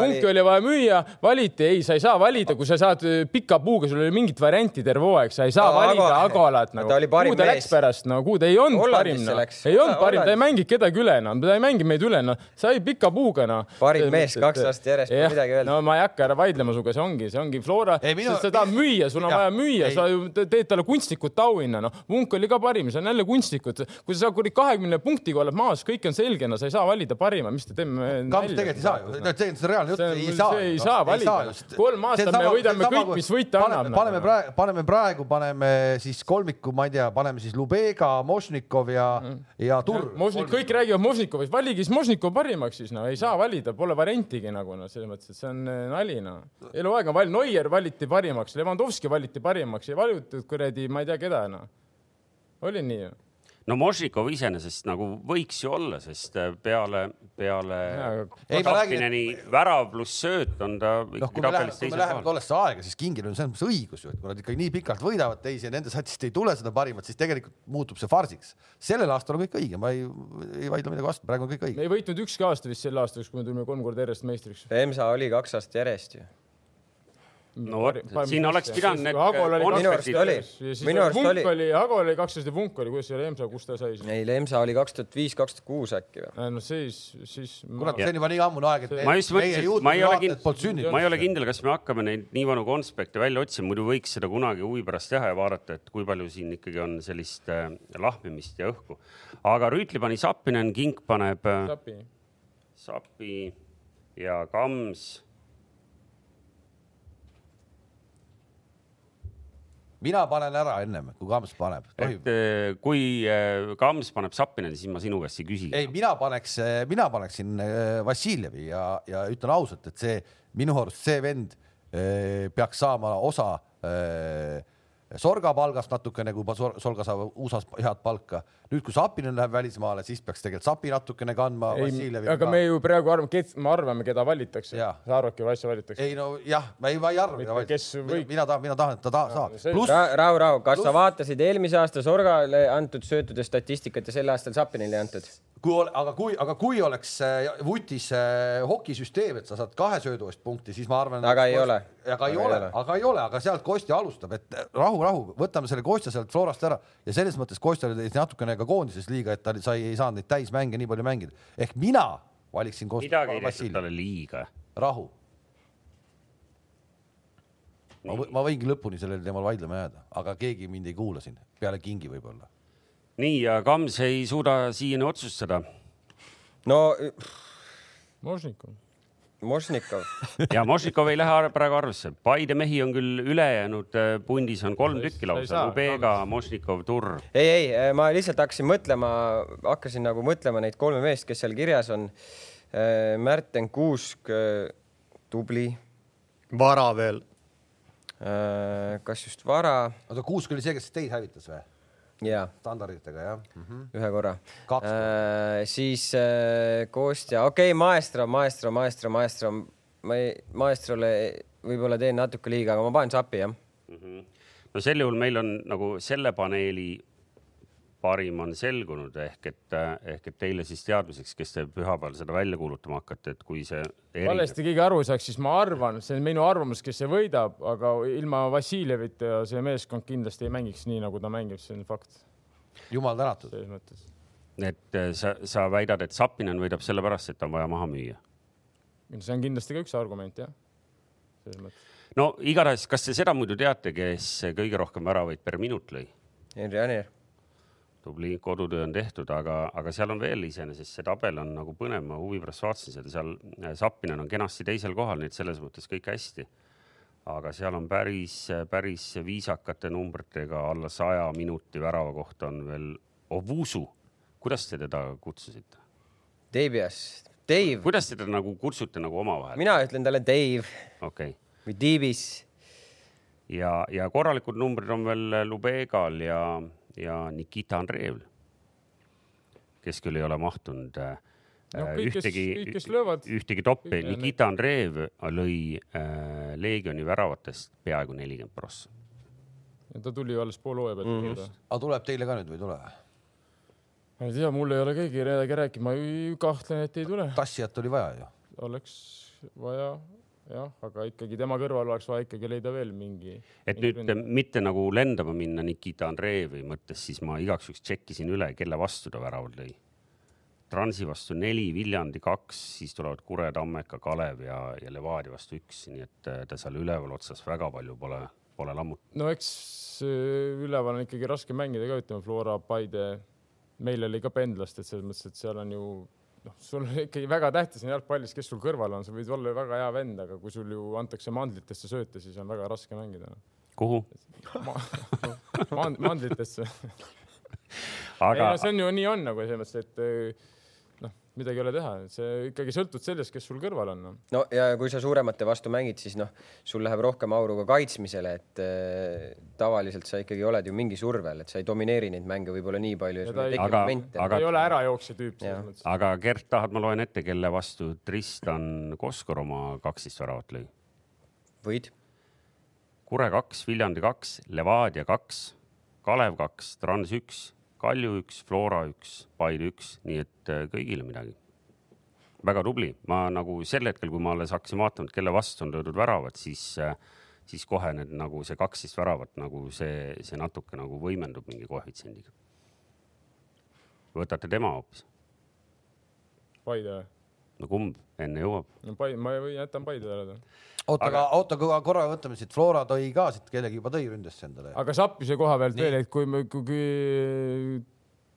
lihtne ,
oli-
punki oli vaja müüa , valiti , ei , sa ei saa valida , kui sa saad pika puuga , sul ei ole mingit varianti terve hooaeg , sa ei saa
Aga
valida
Agola-
Agolat
ta
nagu .
oli parim
kuhu ta
mees.
läks pärast , no kuhu ta ei olnud parim
Hollandisse ,
noh
läks. .
ei olnud
Holla-
parim , ta ei
Hollandis-
mänginud kedagi üle enam , ta ei mänginud meid üle , noh , sai pika puuga , noh .
Parim mees, kaks aastat järjest, pole midagi öelda.
no ma ei hakka ära vaidlema sinuga , see ongi , see ongi Flora ,
Ei, minu-
sest sa tahad müüa , sul on
Jah,
vaja müüa
ei. ,
sa ju te- teed talle kunstnikult auhinna , noh . Munk oli ka parim , see on jälle kunstnikud . kui sa kuradi kahekümne punktiga oled maas , kõik on selge , no sa ei saa valida parima , mis te teeme .
Kamps tegelikult ei saa ju , tegelikult see on reaalne jutt ,
See on-
ei
see
saa .
ei saa valida. Kolm aastat me võidame kõik, mis võita annab, noh.
paneme praegu , paneme praegu , paneme siis kolmiku , ma ei tea , paneme siis Lubega , Mošnikov ja mm. , ja Turr .
Mosnik , kõik räägivad Mosnikovist , valige siis Mosnikov parimaks siis , no ei saa valida , pole variantigi nagu noh , selles mõttes , et see on eh, nali noh . eluaeg on val- , Neuer valiti parimaks , Levanovski valiti parimaks , ei valitud kuradi , ma ei tea keda noh . oli nii ju ?
no Mošikov iseenesest nagu võiks ju olla , sest äh, peale , peale
aga-
Ei, ma räägin,
Kappineni värav pluss sööt on ta
noh , kui
ikkagi
me läheme ,
tabelis
kui me
teisel
läheme
kohal .
tollesse aega , siis kingil on selles mõttes õigus ju , et kui nad ikkagi nii pikalt võidavad teisi ja nende satist ei tule seda parimat , siis tegelikult muutub see farsiks . sellel aastal on kõik õige , ma ei , ei vaidle midagi vastu , praegu on kõik õige .
me ei võitnud ükski aasta vist sel aastal , kui me tulime kolm korda järjest meistriks .
Emsa oli kaks aastat järjest ju .
no vot , siin oleks pidanud
Agol oli
Minu arust
need
oli. Minu arust
vunk
oli-
oli , Agol oli kaksteist ja Vunk oli , kuidas see oli , Emsa , kus ta sai siis ?
ei , Emsa oli kaks tuhat viis , kaks tuhat kuus äkki või ?
no siis , siis .
kurat , see on juba nii ammune aeg , et
ma just mõtlesin , et ma ei ole kindel , ma ei ole
kindel .
kindel , kas me hakkame neid nii vanu konspekte välja otsima , muidu võiks seda kunagi huvi pärast teha ja vaadata , et kui palju siin ikkagi on sellist äh, lahmimist ja õhku . aga Rüütli pani Sappinen , Kink paneb äh,
Sapi .
Sapi ja Kams
mina panen ära ennem , kui Kams paneb .
et eh, kui eh, Kams paneb sappina , siis ma sinu käest ei küsi .
ei , mina paneks , mina paneksin äh, Vassiljevi ja , ja ütlen ausalt , et see minu arust see vend äh, peaks saama osa äh, Sorga palgast natukene , kui Sor- Sorga saab USA-s head palka . nüüd , kui Sapinen läheb välismaale , siis peaks tegelikult Sapi natukene kandma .
ei , aga me ju praegu arvame , me arvame , keda valitakse .
Jaa.
sa arvadki , et asja valitakse ?
ei no jah , ma ei , ma ei arva
Mitte , kes võik-
mina tahan , mina tahan , et ta ta saab .
see-
pluss ,
rahu , rahu , kas sa vaatasid eelmise aasta Sorgale antud söötude statistikat ja sel aastal Sapinile antud ?
kui , aga kui , aga kui oleks äh, vutis äh, hokisüsteem , et sa saad kahe söödu eest punkti , siis ma arvan .
Aga ei ole.
aga ei ole , aga ei ole , aga sealt Kostja alustab , et äh, rahu , rahu , võtame selle Kostja sealt Florast ära ja selles mõttes Kostja oli teist natukene ka koondises liiga , et ta oli- sai , ei saanud neid täismänge nii palju mängida . ehk mina valiksin Kostja
midagi ei tehtud . talle liiga .
rahu . ma , ma võingi lõpuni sellel teemal vaidlema jääda , aga keegi mind ei kuula siin , peale kingi võib-olla .
nii ja Kams ei suuda siiani otsustada
no
Mošnikov .
Mošnikov ,
ja Mošikov ei lähe ar- praegu arvesse . Paide mehi on küll ülejäänud eh, pundis on kolm
Ei-
tükki
ei
lausa
saa, ,
Lubega , Mošnikov , Turr .
ei , ei , ma lihtsalt hakkasin mõtlema , hakkasin nagu mõtlema neid kolme meest , kes seal kirjas on . Märten Kuusk , tubli ,
vara veel .
Äh, kas just vara ?
oota , Kuusk oli see , kes teid hävitas või ?
jaa ,
standarditega jah mm ? -hmm.
ühe korra
Kaks .
siis äh, Kostja , okei okay, , Maestro , Maestro , Maestro , Maestro , ma ei , Maestrole võib-olla teen natuke liiga , aga ma panen sapi jah .
no sel juhul meil on nagu selle paneeli parim on selgunud ehk et , ehk et teile siis teadmiseks , kes te pühapäeval seda välja kuulutama hakkate , et kui see .
valesti keegi aru ei saaks , siis ma arvan , see on minu arvamus , kes see võidab , aga ilma Vassiljevita see meeskond kindlasti ei mängiks nii , nagu ta mängib , see on fakt
jumal tänatud .
selles mõttes .
et eh, sa , sa väidad , et Sapinen võidab sellepärast , et on vaja maha müüa .
see on kindlasti ka üks argument jah , selles mõttes .
no igatahes , kas te seda muidu teate , kes kõige rohkem väravaid per minut lõi ?
Henri Anier ,
tubli kodutöö on tehtud , aga , aga seal on veel iseenesest see tabel on nagu põnev , ma huvi pärast vaatasin seda , seal eh, Sapinen on kenasti teisel kohal , nii et selles mõttes kõik hästi . aga seal on päris , päris viisakate numbritega alla saja minuti värava kohta on veel Ovusu . kuidas te teda kutsusite ?
Deibias , Dave ,
kuidas te teda nagu kutsute nagu omavahel ?
mina ütlen talle Dave
okei okay. .
või Diibis .
ja , ja korralikud numbrid on veel Lubegal ja , ja Nikita Andreevil , kes küll ei ole mahtunud äh,
No kõik, kes- kõik, kes
ühtegi
löövad. ,
ühtegi toppi .
Kõik-
Nikita Andreev lõi äh, Leegioni väravatest peaaegu nelikümmend prossa .
ta tuli ju alles poole hooaja
Mhm.
pealt mm.
aga tuleb teile ka nüüd või ei tule ?
ma ei tea , mul ei ole keegi midagi rääkinud , ma ju kahtlen , et ei tule ,
tassijat oli vaja ju .
oleks vaja jah , aga ikkagi tema kõrval oleks vaja ikkagi leida veel mingi .
et nüüd mitte nagu lendama minna Nikita Andreevi mõttes , siis ma igaks juhuks tšekkisin üle , kelle vastu ta väraval lõi . Transi vastu neli , Viljandi kaks , siis tulevad Kure , Tammeka , Kalev ja , ja Levadia vastu üks , nii et äh, ta seal üleval otsas väga palju pole , pole lammutanud .
no eks öö, üleval on ikkagi raske mängida ka , ütleme Flora , Paide , meil oli ka pendlast , et selles mõttes , et seal on ju noh , sul on ikkagi väga tähtis on jalgpallis , kes sul kõrval on , sa võid olla ju väga hea vend , aga kui sul ju antakse mandlitesse sööta , siis on väga raske mängida noh.
kuhu ?
Ma, mand- , mandlitesse . ei
aga
no see on ju nii on nagu selles mõttes , et öö, noh , midagi ei ole teha , see ikkagi sõltub sellest , kes sul kõrval on no. .
no ja kui sa suuremate vastu mängid , siis noh , sul läheb rohkem auru ka kaitsmisele , et eh, tavaliselt sa ikkagi oled ju mingi surve all , et sa ei domineeri neid mänge võib-olla nii palju ja sul
ta
ei
ei-
teki
Aga-
momente .
aga-
ei ole ärajooksja tüüp
Jah.
selles mõttes .
aga Gert , tahad , ma loen ette , kelle vastu Tristan Koskor oma kaksteist väravat lõi ?
võid ,
Kure kaks , Viljandi kaks , Levadia kaks , Kalev kaks , Trans üks , Kalju üks , Flora üks , Paide üks , nii et äh, kõigile midagi . väga tubli , ma nagu sel hetkel , kui ma alles hakkasin vaatama , et kelle vastu on löödud väravad , siis , siis kohe need nagu see kaksteist väravat nagu see , see natuke nagu võimendub mingi koefitsiendiga . võtate tema hoopis ,
Paide või ?
no kumb enne jõuab ?
no Paide , ma või- jätan Paide ära .
oota , aga oota , korra võtame siit , Flora tõi ka siit , kellegi juba tõi ründesse endale .
aga Sappise koha pealt veel , et kui , kui, kui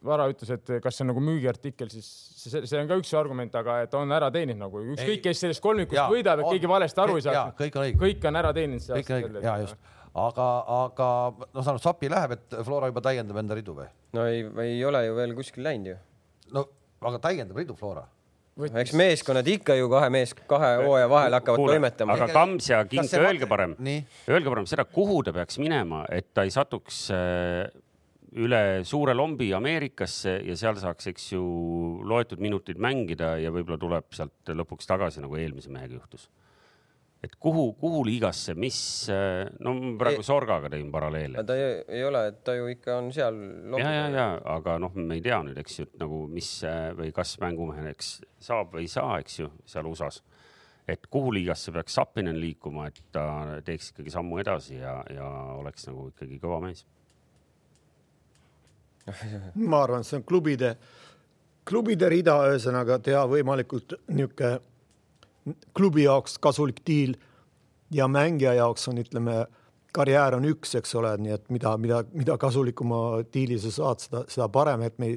Vara ütles , et kas see on nagu müügiartikkel , siis see, see on ka üks argument , aga et on ära teeninud nagu
Ei.
ükskõik , kes sellest kolmikust
Jaa,
võidab , et
on.
keegi valesti aru ei
Jaa,
saaks .
kõik on õige.
kõik on ära teeninud .
kõik on õige , ja just . aga , aga no saan aru , sapi läheb , et Flora juba täiendab enda ridu või ?
no ei , ei ole ju veel kuskil läinud ju .
no aga täiendab ridu Flora .
eks meeskonnad ikka ju kahe mees , kahe hooaja vahel hakkavad toimetama .
aga Kams ja King
Kas , see
öelge
mõte-
parem
Nii. ,
öelge parem seda , kuhu ta peaks minema , et ta ei satuks äh, üle suure lombi Ameerikasse ja seal saaks , eks ju , loetud minutid mängida ja võib-olla tuleb sealt lõpuks tagasi , nagu eelmise mehega juhtus . et kuhu , kuhu liigasse , mis , no ma praegu
Ei-
Sorgaga tõin paralleele .
ta ei, ei ole , ta ju ikka on seal .
ja , ja , ja , aga noh , me ei tea nüüd , eks ju , et nagu mis äh, või kas mängumeheks saab või ei saa , eks ju , seal USA-s . et kuhu liigasse peaks Sapinen liikuma , et ta teeks ikkagi sammu edasi ja , ja oleks nagu ikkagi kõva mees .
ma arvan , see on klubide , klubide rida , ühesõnaga teha võimalikult niisugune klubi jaoks kasulik diil ja mängija jaoks on , ütleme , karjäär on üks , eks ole , nii et mida , mida , mida kasulikuma diili sa saad , seda , seda parem , et me ei,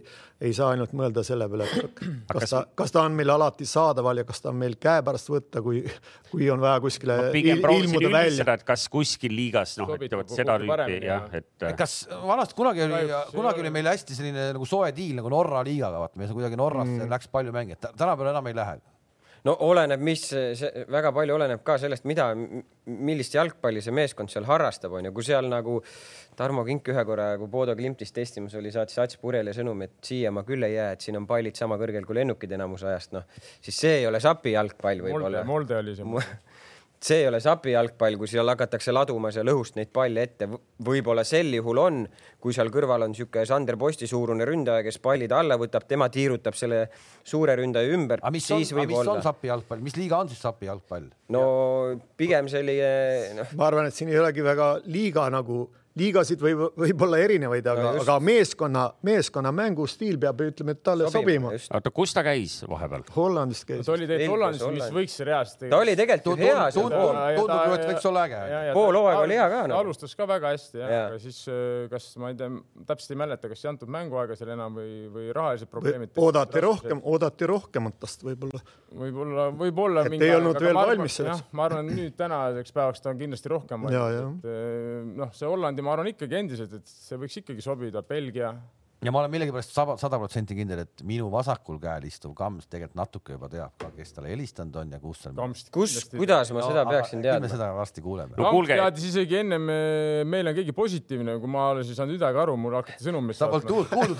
ei saa ainult mõelda selle peale , et kas ta , kas ta on meil alati saadaval ja kas ta on meil käepärast võtta , kui , kui on vaja
Äh,
kuskile
ma
il-
pigem proovisin
ilmuda välja .
üldistada , et kas kuskil liigas , noh , et
Sobitub
vot seda
kokku
tüüpi
paremini,
jah ,
jah.
et äh,
kas vanasti kunagi oli
Kahjuks ei ,
kunagi
ole.
oli meil hästi selline nagu soe diil nagu Norra liigaga , vaata , meil seal kuidagi Norrasse mm. läks palju mängijaid , tänapäeval enam ei lähe .
no oleneb , mis see väga palju oleneb ka sellest , mida , millist jalgpalli see meeskond seal harrastab , onju , kui seal nagu Tarmo Kink ühe korra , kui Bodo Klimtis testimas oli , saatis Ats Purjele sõnumi , et siia ma küll ei jää , et siin on pallid sama kõrgel kui lennukid enamus ajast , noh siis see ei ole sapi jalgpall
Molde ,
võib-olla .
Molde oli see .
see ei ole sapi jalgpall , kui seal hakatakse laduma seal õhust neid palle ette , võib-olla sel juhul on , kui seal kõrval on niisugune Sander Posti suurune ründaja , kes pallid alla võtab , tema tiirutab selle suure ründaja ümber
aga , mis on ,
siis võib
mis on
olla .
sapi jalgpall , mis liiga on siis sapi jalgpall ?
no pigem selline noh ,
ma arvan , et siin ei olegi väga liiga nagu , liigasid võib , võib-olla erinevaid , aga
No
no ,
just.
aga meeskonna , meeskonna mängustiil peab , ütleme , et talle
Sobima,
sobima,
just.
sobima. .
oota , kus ta käis vahepeal ?
Hollandist käis
ta . oli
Belgias,
tegelikult Hollandis , mis
Hollandis.
võiks reaalselt .
ta oli tegelikult ju hea seal
tundub-
pool ,
tundub ju, et võiks olla äge.
Pool hooaega oli hea ka, noh.
alustas ka väga hästi jah
Jaa.
ja. , aga siis öö, kas ma ei tea , täpselt ei mäleta , kas ei antud mänguaega seal enam või , või rahalised probleemid .
oodati rohkem , oodati rohkemat tast võib-olla .
võib-olla , võib-olla .
Et ei olnud veel valmis selleks.
ma arvan , nüüd tänaseks päevaks ta on kindlasti rohkem
Ja,
valmis , et eh, noh , see Hollandi , ma arvan ikkagi endiselt , et see võiks ikkagi sobida , Belgia
ja ma olen millegipärast saba- sada protsenti kindel , et minu vasakul käel istuv Kams tegelikult natuke juba teab ka , kes talle helistanud on ja kus ta on .
Kamst .
kus , kuidas ma seda peaksin
me
teadma ?
seda varsti kuuleme
No.
no. .
kuulge-
Kamps teadis isegi ennem , meil on keegi positiivne , kui ma olen siis saanud midagi aru , mul hakati sõnumist
sa polnud . tuult kuulnud .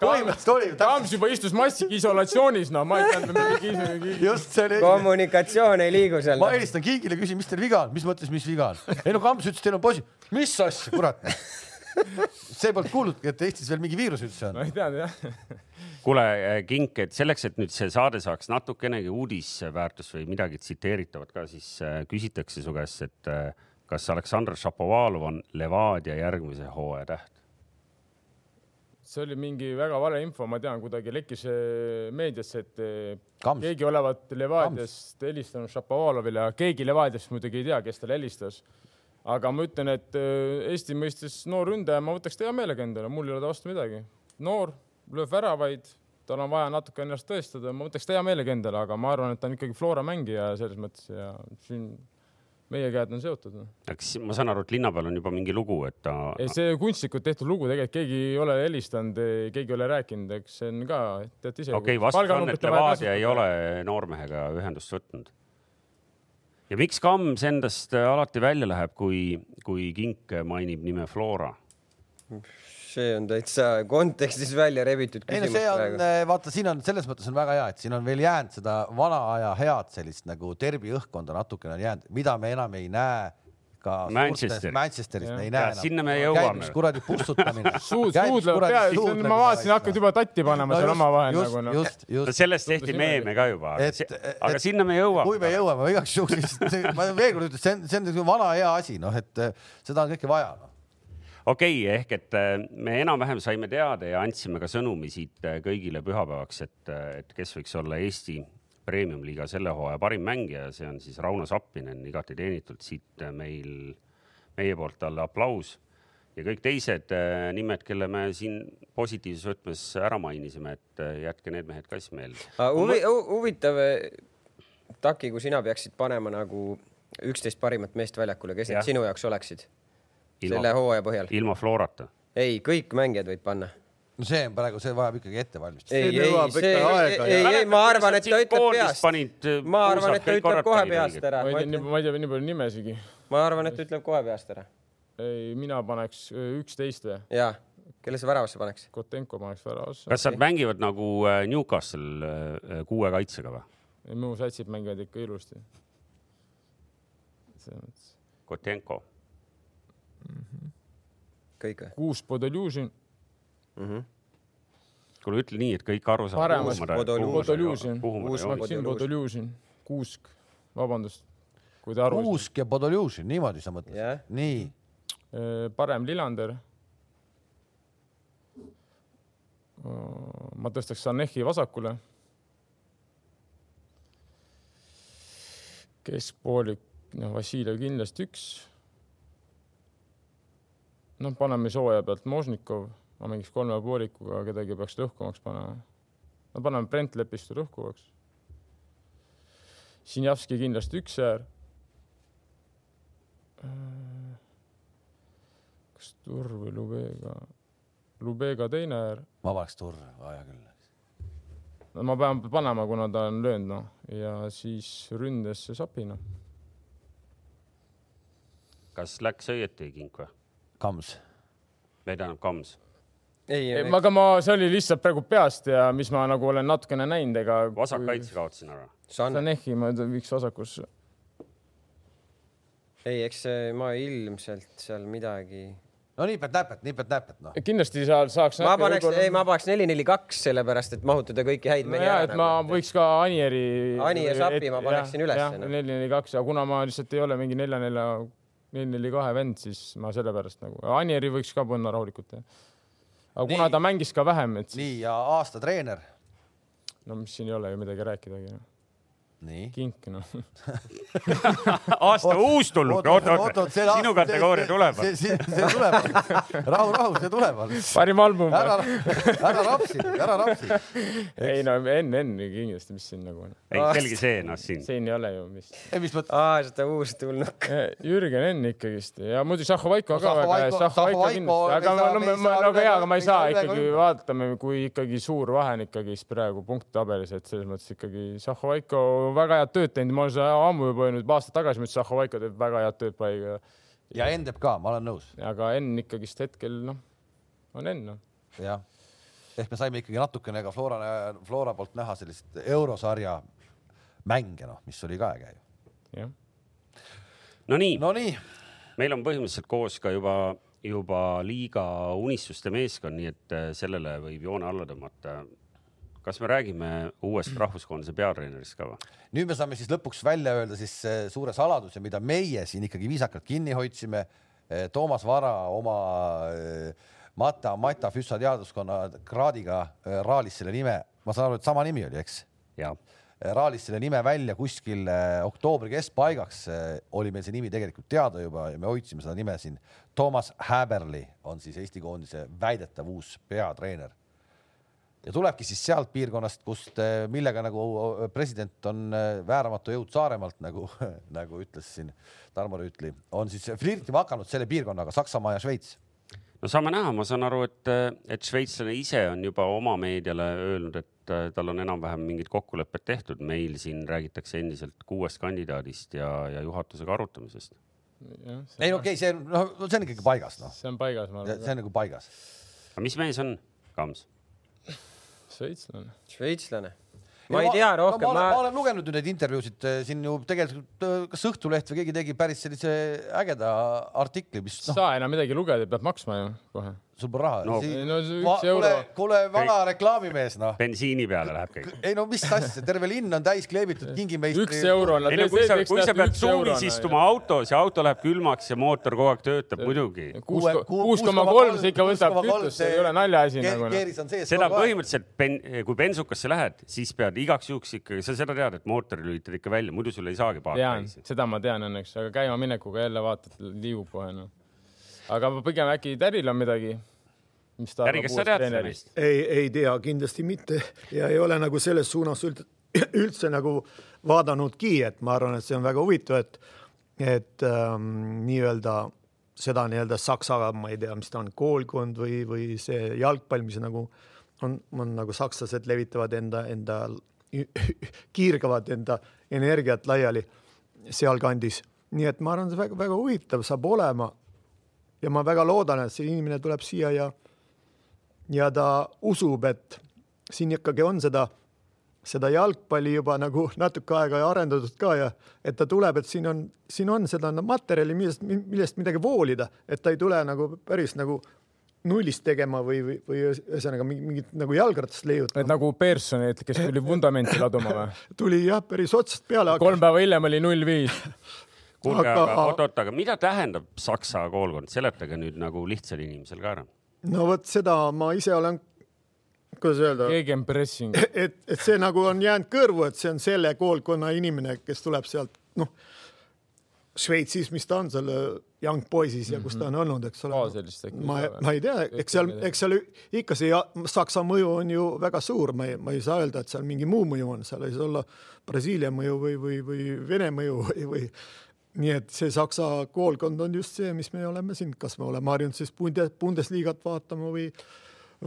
põhimõtteliselt oli ju täpselt ,
Kamps juba istus massik isolatsioonis , no ma ei teadnud , et mingi isegi .
just see oli .
kommunikatsioon ei liigu seal .
ma helistan Kiigile , küsin , mis teil viga on , mis mõttes , mis viga on ? ei no Kams ütles , teil on posi- , mis asja , kurat . see polnud kuulnudki , et Eestis veel mingi viirus üldse on
no . ei teadnud jah .
kuule , Kink , et selleks , et nüüd see saade saaks natukenegi uudisväärtust või midagi tsiteeritavat ka , siis äh, küsitakse su käest , et äh, kas Aleksandr Šapovalov on Levadia järgmise hooaja täht ?
see oli mingi väga vale info , ma tean , kuidagi lekkis äh, meediasse , et äh,
Kams.
keegi olevat Levadiast helistanud Šapovalovile , keegi Levadiast muidugi ei tea , kes talle helistas . aga ma ütlen , et äh, Eesti mõistes noor ründaja , ma võtaks ta hea meelega endale , mul ei ole ta vastu midagi . noor , lööb väravaid , tal on vaja natuke ennast tõestada , ma võtaks ta hea meelega endale , aga ma arvan , et ta on ikkagi Flora mängija selles mõttes ja siin meie käed on seotud noh.
kas ma saan aru , et linna peal on juba mingi lugu , et ta
ei , see kunstlikult tehtud lugu tegelikult keegi ei ole helistanud , keegi ei ole rääkinud , eks see on ka , teate ise .
okei okay, , vastus on , et Levadia ei . ole noormehega ühendust võtnud . ja miks Kams endast alati välja läheb , kui , kui Kink mainib nime Flora ?
see on täitsa kontekstist välja rebitud
ei no
küsimus
see on
praegu .,
vaata , siin on selles mõttes on väga hea , et siin on veel jäänud seda vana aja head sellist nagu derbi õhkkonda natukene on jäänud , mida me enam ei näe ka
Manchester.
suurtes- Manchesteris me ei
Jah.
näe
Ja
enam .
sinna me
käib
jõuame.
üks kuradi pussutamine .
suud , suudlevad peale , ma vaatasin , hakkad juba tatti panema seal omavahel nagu noh .
noh. just , just ,
sellest tehti meeme ka juba ,
Et-
aga
et-
sinna
kui
me
me
jõuame .
jõuame või igaks juhuks , lihtsalt- ma veel kord ütlen , see on , see on niisugune vana hea asi , noh , et eh, seda on kõike vaja noh. no. .
okei okay, , ehk et äh, me enam-vähem saime teada ja andsime ka sõnumi siit äh, kõigile pühapäevaks , et , et kes võiks olla Eesti premium-liiga selle hooaja parim mängija , see on siis Rauno Sappinen , igati teenitult siit äh, meil , meie poolt talle aplaus ja kõik teised äh, nimed , kelle me siin positiivses võtmes ära mainisime , et äh, jätke need mehed ka siis meelde .
huvi , huvitav , Taki , kui sina peaksid panema nagu üksteist parimat meest väljakule , kes
Jah.
need sinu jaoks oleksid ? selle
ilma ,
hooaja põhjal ?
ilma Florata .
ei , kõik mängijad võib panna .
no see on praegu , see vajab ikkagi ettevalmistust .
ei , ei ,
nõuab
see ,
ikka
ei
aega ,
ei ,
ja-
ei , ma arvan , et ta ütleb peast .
panid äh,
ma arvan ,
puusad
et ta
kõik
ütleb
korraga
kohe
panid
peast
õiged.
ära .
ma ei tea , ma ei tea nii palju nimesigi .
ma arvan , et ta ütleb kohe peast ära .
ei , mina paneks öö, üksteist või ?
jaa , kelle sa väravasse paneks ?
Kotenko paneks väravasse .
kas nad mängivad nagu äh, Newcastle äh, kuue kaitsega või ?
mu satsid mängivad ikka ilusti . selles mõttes .
Kotenko ,
kõik või ?
kuus Podoljuzin ,
kuule ütle nii , et kõik aru saavad ,
Paremas Podoljuzin , kuus Maksim Podoljuzin , kuusk , vabandust , kui te aru ei
Kuusk ja Podoljuzin , niimoodi sa mõtled
Jah.
nii ,
Äh, parem Lillander . Äh, ma tõstaks Sanehi vasakule . keskpoolik , noh , Vassiljev kindlasti üks . noh , paneme siis hooaja pealt Možnikov , ma mängiks kolme poolikuga , kedagi peaks lõhkumaks panema . no paneme Brent Lepistu lõhkuvaks . Sinjavski kindlasti üks äär . kas Tur või Lubega ? Lubega teine äär .
ma paneks turre , vaja küll .
no ma pean panema , kuna ta on löönud , noh , ja siis ründesse sapina .
kas läks õieti kink või ?
Kams
või tähendab Kams ?
ei , ma...
aga ma , see oli lihtsalt praegu peast ja mis ma nagu olen natukene näinud , ega .
vasak . kaitse kaotasin ära .
Sanne ,
Sanehi ma ütlen, viiks vasakusse .
ei , eks see- ma ilmselt seal midagi .
no nipet-näpet , nipet-näpet noh .
kindlasti seal saaks .
ma paneks , ei , ma paneks neli , neli , kaks , sellepärast et mahutada kõiki häid mehi
ja , et ma
ära . nagu.
võiks ka Anieri .
Ani ja Sapi ma paneksin ülesse, noh.
neli , neli , kaks , aga kuna ma lihtsalt ei ole mingi nelja , nelja , neli , neli , kahe vend , siis ma sellepärast nagu , Anieri võiks ka panna rahulikult , jah . aga kuna
Nii.
ta mängis ka vähem , et siis ,
nii ja aasta treener
no mis siin ei ole ju midagi rääkidagi .
nii .
kink noh .
aasta uus tulnud , oot , oot , oot , sinu kategooria tuleb .
see , see, see tuleb alles . rahu , rahu , see tuleb alles .
parim album .
ära , ära rapsi , ära rapsi .
ei no enne , enne kindlasti , mis siin nagu on .
ei , selge see ennast siin .
siin ei ole ju vist .
ei , mis mõttes ?
aa , seda uus tulnud .
Äh, Jürgen Enn ikkagist ja muidu
No
Šahovaiko ka väga hea ,
Šahovaiko-
Šahovaiko
Šahovaiko
kindlasti ,
ei
aga
saa-
ma- no
me
ma
ei ,
ma
saa
nagu
üle-
jaa , aga ma ei
me ei
saa
saa üle ega
ikkagi ,
ümber.
vaatame , kui ikkagi suur vahe on ikkagist praegu punkttabelis , et selles mõttes ikkagi Šahovaiko väga head tööd teinud , ma olen seda ammu juba öelnud , aasta tagasi ma ütlesin , Šahovaiko teeb väga head tööd praegu ,
ja Endep ka , ma olen nõus ,
aga Enn ikkagist hetkel noh , on Enn noh .
jah . ehk me saime ikkagi natukene ka Flora , Flora poolt näha sellist eurosarja mänge , noh , mis oli ka äge ju .
jah ,
Nonii ,
Nonii ,
meil on põhimõtteliselt koos ka juba , juba liiga unistuste meeskond , nii et äh, sellele võib joone alla tõmmata . kas me räägime uuest rahvuskoondise peatreenerist ka või ?
nüüd me saame siis lõpuks välja öelda siis eh, suure saladuse , mida meie siin ikkagi viisakalt kinni hoidsime . Toomas Vara oma eh, Mata Mata füüssateaduskonna kraadiga eh, raalis selle nime , ma saan aru , et sama nimi oli , eks ?
jaa ,
raalis selle nime välja kuskil eh, oktoobri keskpaigaks , oli meil see nimi tegelikult teada juba ja me hoidsime seda nime siin . Toomas Häberli on siis Eesti koondise väidetav uus peatreener . ja tulebki siis sealt piirkonnast , kust , millega nagu president on eh, vääramatu jõud Saaremaalt , nagu , nagu ütles siin Tarmo Rüütli , on siis flirtima hakanud selle piirkonnaga Saksamaa ja Šveits .
no saame näha , ma saan aru , et , et šveitslane ise on juba oma meediale öelnud , et äh, tal on enam-vähem mingid kokkulepped tehtud , meil siin räägitakse endiselt kuuest kandidaadist ja , ja juhatusega arutamisest .
jah ,
ei , okei okay, , see , noh , see on ikkagi paigas , noh ,
see on paigas , ma
see
arvan ,
on nagu paigas .
aga mis mees on , Kams ?
šveitslane .
šveitslane . ma ei tea rohkem ,
ma, ma... . ma
ma ,
olen lugenud ju neid intervjuusid eh, siin ju tegelikult eh, kas Õhtuleht või keegi tegi päris sellise ägeda artikli , mis noh ,
sa enam midagi lugeda ei pea maksma ju kohe .
sul pole raha
No,
Siin-
ei no see
Ma-
üks
kuule
euro. ,
kuule , vana reklaamimees noh ,
bensiini peale läheb kõik .
ei no mis asja , terve linn on täis kleebitud kingimeistri .
üks euro .
ei no kui sa , kui sa pead suunis istuma autos ja auto läheb külmaks ja mootor kogu aeg töötab muidugi .
kuus , kuus koma kolm , see ikka võtab kütust , see ei ole naljaasi nagu .
keeris on sees .
seda põhimõtteliselt , kui bensukasse lähed , siis pead igaks juhuks ikkagi , sa seda tead , et mootori lülitad ikka välja , muidu sul ei saagi paaki
tean ,
täis .
seda ma tean õnneks , aga käimaminekuga jälle vaatad , liigub kohe noh . aga ma pigem äkki Täril on midagi , mis nagu ta
Jari , kas sa tead seda meest ?
ei , ei tea kindlasti mitte ja ei ole nagu selles suunas üld, üldse nagu vaadanudki , et ma arvan , et see on väga huvitav , et et ähm, nii-öelda seda nii-öelda Saksa , ma ei tea , mis ta on , koolkond või , või see jalgpall , mis nagu on , on nagu sakslased levitavad enda , enda , kiirgavad enda energiat laiali sealkandis . nii et ma arvan , et väga-väga huvitav saab olema . ja ma väga loodan , et see inimene tuleb siia ja ja ta usub , et siin ikkagi on seda , seda jalgpalli juba nagu natuke aega arendatud ka ja et ta tuleb , et siin on , siin on seda materjali , millest , millest midagi voolida , et ta ei tule nagu päris nagu nullist tegema või , või , või ühesõnaga mingi- mingit nagu jalgratast leiutama .
et nagu Pearson , et kes tuli vundamenti laduma või ?
tuli jah , päris otsast peale .
kolm päeva hiljem oli null viis .
kuulge ,
Aga-
aga oot-oot , aga mida tähendab Saksa koolkond , seletage nüüd nagu lihtsal inimesel ka ära .
no vot seda ma ise olen , kuidas öelda ,
keegi on pressing .
et , et see nagu on jäänud kõrvu , et see on selle koolkonna inimene , kes tuleb sealt noh , Šveitsis , mis ta on seal Young Boys'is ja kus ta on olnud , eks ole
Mhm. Aa, sellist äkki
ma
ei saa või? ,
ma ei tea , eks seal , eks seal ikka see ja- Saksa mõju on ju väga suur , ma ei , ma ei saa öelda , et seal mingi muu mõju on , seal ei saa olla Brasiilia mõju või , või , või Vene mõju või , või nii et see Saksa koolkond on just see , mis me oleme siin , kas me oleme harjunud siis Bunde- Bundesliga't vaatama või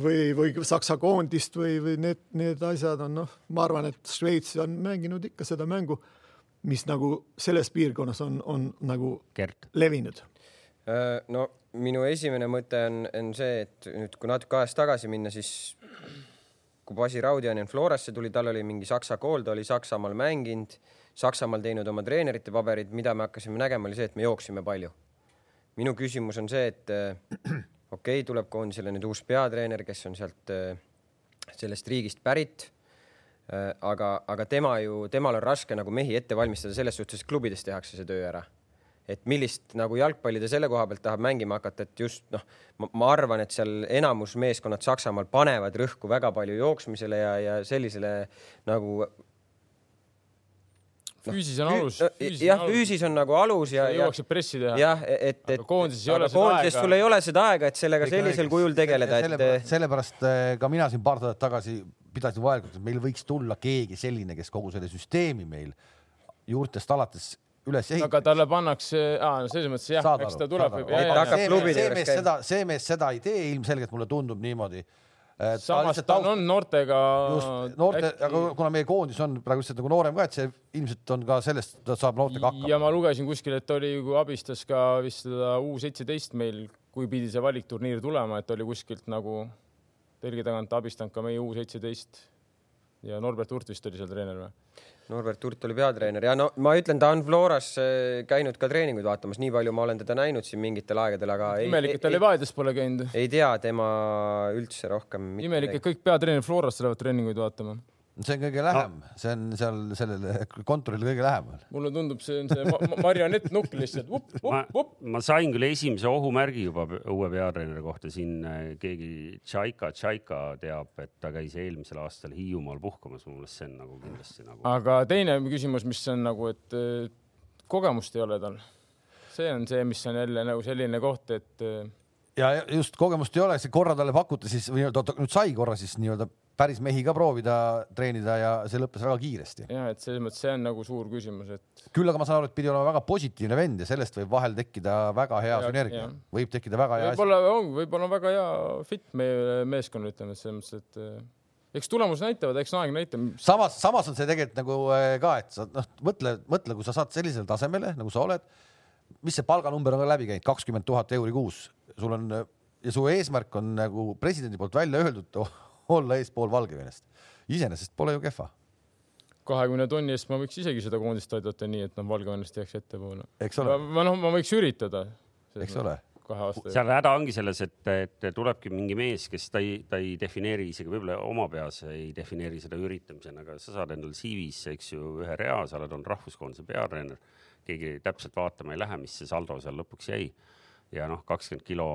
või , või Saksa koondist või , või need , need asjad on noh , ma arvan , et Šveits on mänginud ikka seda mängu , mis nagu selles piirkonnas on , on nagu
Gert ,
levinud
Äh, no minu esimene mõte on , on see , et nüüd , kui natuke ajas tagasi minna , siis kui Basi Raudianen Florasse tuli , tal oli mingi saksa kool , ta oli Saksamaal mänginud , Saksamaal teinud oma treenerite paberid , mida me hakkasime nägema , oli see , et me jooksime palju . minu küsimus on see , et äh, okei okay, , tuleb koondisele nüüd uus peatreener , kes on sealt äh, sellest riigist pärit . Äh, aga , aga tema ju , temal on raske nagu mehi ette valmistada selles suhtes , et klubides tehakse see töö ära et millist nagu jalgpalli ta selle koha pealt tahab mängima hakata , et just noh , ma arvan , et seal enamus meeskonnad Saksamaal panevad rõhku väga palju jooksmisele ja , ja sellisele nagu
füüsis on alus .
jah , füüsis on nagu alus ja , ja ,
jõuaksid pressi teha .
jah , et , et
Aga koondises ei ole
aga
seda
koondises
aega.
sul ei ole seda aega , et sellega sellisel kujul tegeleda ,
sellepärast,
et
sellepärast eh, ka mina siin paar tuhat tagasi pidasin vajalikuks , et meil võiks tulla keegi selline , kes kogu selle süsteemi meil juurtest alates üles
aga
ehitab .
talle pannakse , selles mõttes jah ,
Saad
eks
aru,
ta tuleb
saad aru. .
ja,
Aga
ja.
see
Hakkab
mees-
klubide
see
juures
mees
käima.
seda , see mees seda ei tee , ilmselgelt mulle tundub niimoodi .
samas ta on, on noortega .
just noorte , aga kuna meie koondis on praegu lihtsalt nagu noorem ka , et see ilmselt on ka sellest , ta saab noortega
ja
hakkama .
ma lugesin kuskil , et oli , kui abistas ka vist seda U17 meil , kui pidi see valikturniir tulema , et oli kuskilt nagu telgi tagant abistanud ka meie U17 ja Norbert Hurt vist oli seal treener või ?
Norbert Hurt oli peatreener ja no ma ütlen , ta on Floras äh, käinud ka treeninguid vaatamas , nii palju ma olen teda näinud siin mingitel aegadel , aga ei,
imelik , et ta
ei,
Levadias pole käinud .
ei tea tema üldse rohkem .
imelik , et kõik peatreenerid Florast lähevad treeninguid vaatama .
see on kõige lähem , see on seal sellele kontorile kõige lähemal .
mulle tundub , see on see ma- ma- marionettnukk lihtsalt , vup ,
ma
vup , vup .,
ma sain küll esimese ohumärgi juba pe- uue peatreeneri kohta siin äh, keegi Tšaika , Tšaika teab , et ta käis eelmisel aastal Hiiumaal puhkamas , minu meelest see on nagu kindlasti nagu .
aga teine küsimus , mis on nagu , et eh, kogemust ei ole tal . see on see , mis on jälle nagu selline koht , et eh,
ja just kogemust ei ole , see korra talle pakuti siis või ta ta nüüd sai korra siis nii-öelda päris mehi ka proovida treenida ja see lõppes väga kiiresti .
jah , et selles mõttes see on nagu suur küsimus , et
küll aga ma saan aru , et pidi olema väga positiivne vend ja sellest võib vahel tekkida väga hea
Ja-
sünergia
jah. ,
võib tekkida väga hea asi .
võib-olla on , võib-olla on väga hea fit meie meeskonna , ütleme et selles mõttes , et eh, eks tulemus näitavad , eks aeg näitab .
samas , samas on see tegelikult nagu äh, ka , et sa noh , mõtle , mõtle , kui sa saad sellisele tasemele , nagu sa oled , mis see palganumber on ka läbi käinud , kakskümmend tuhat euri kuus , sul on äh, ja su eesmärk on nagu presidendi poolt välja öeldud olla eespool Valgevenest . iseenesest pole ju kehva ,
kahekümne tonni eest ma võiks isegi seda koondist aidata nii , et noh , Valgevenest jääks ettepoole .
eks
ma
ole ,
ma noh , ma võiks üritada .
eks ole .
kahe aasta jooksul .
seal häda ongi selles , et , et tulebki mingi mees , kes ta ei , ta ei defineeri isegi võib-olla oma peas ei defineeri seda üritamisena , aga sa saad endale CV-sse , eks ju , ühe rea , sa oled olnud rahvuskoondise peatreener . keegi täpselt vaatama ei lähe , mis see saldo seal lõpuks jäi . ja noh , kakskümmend kilo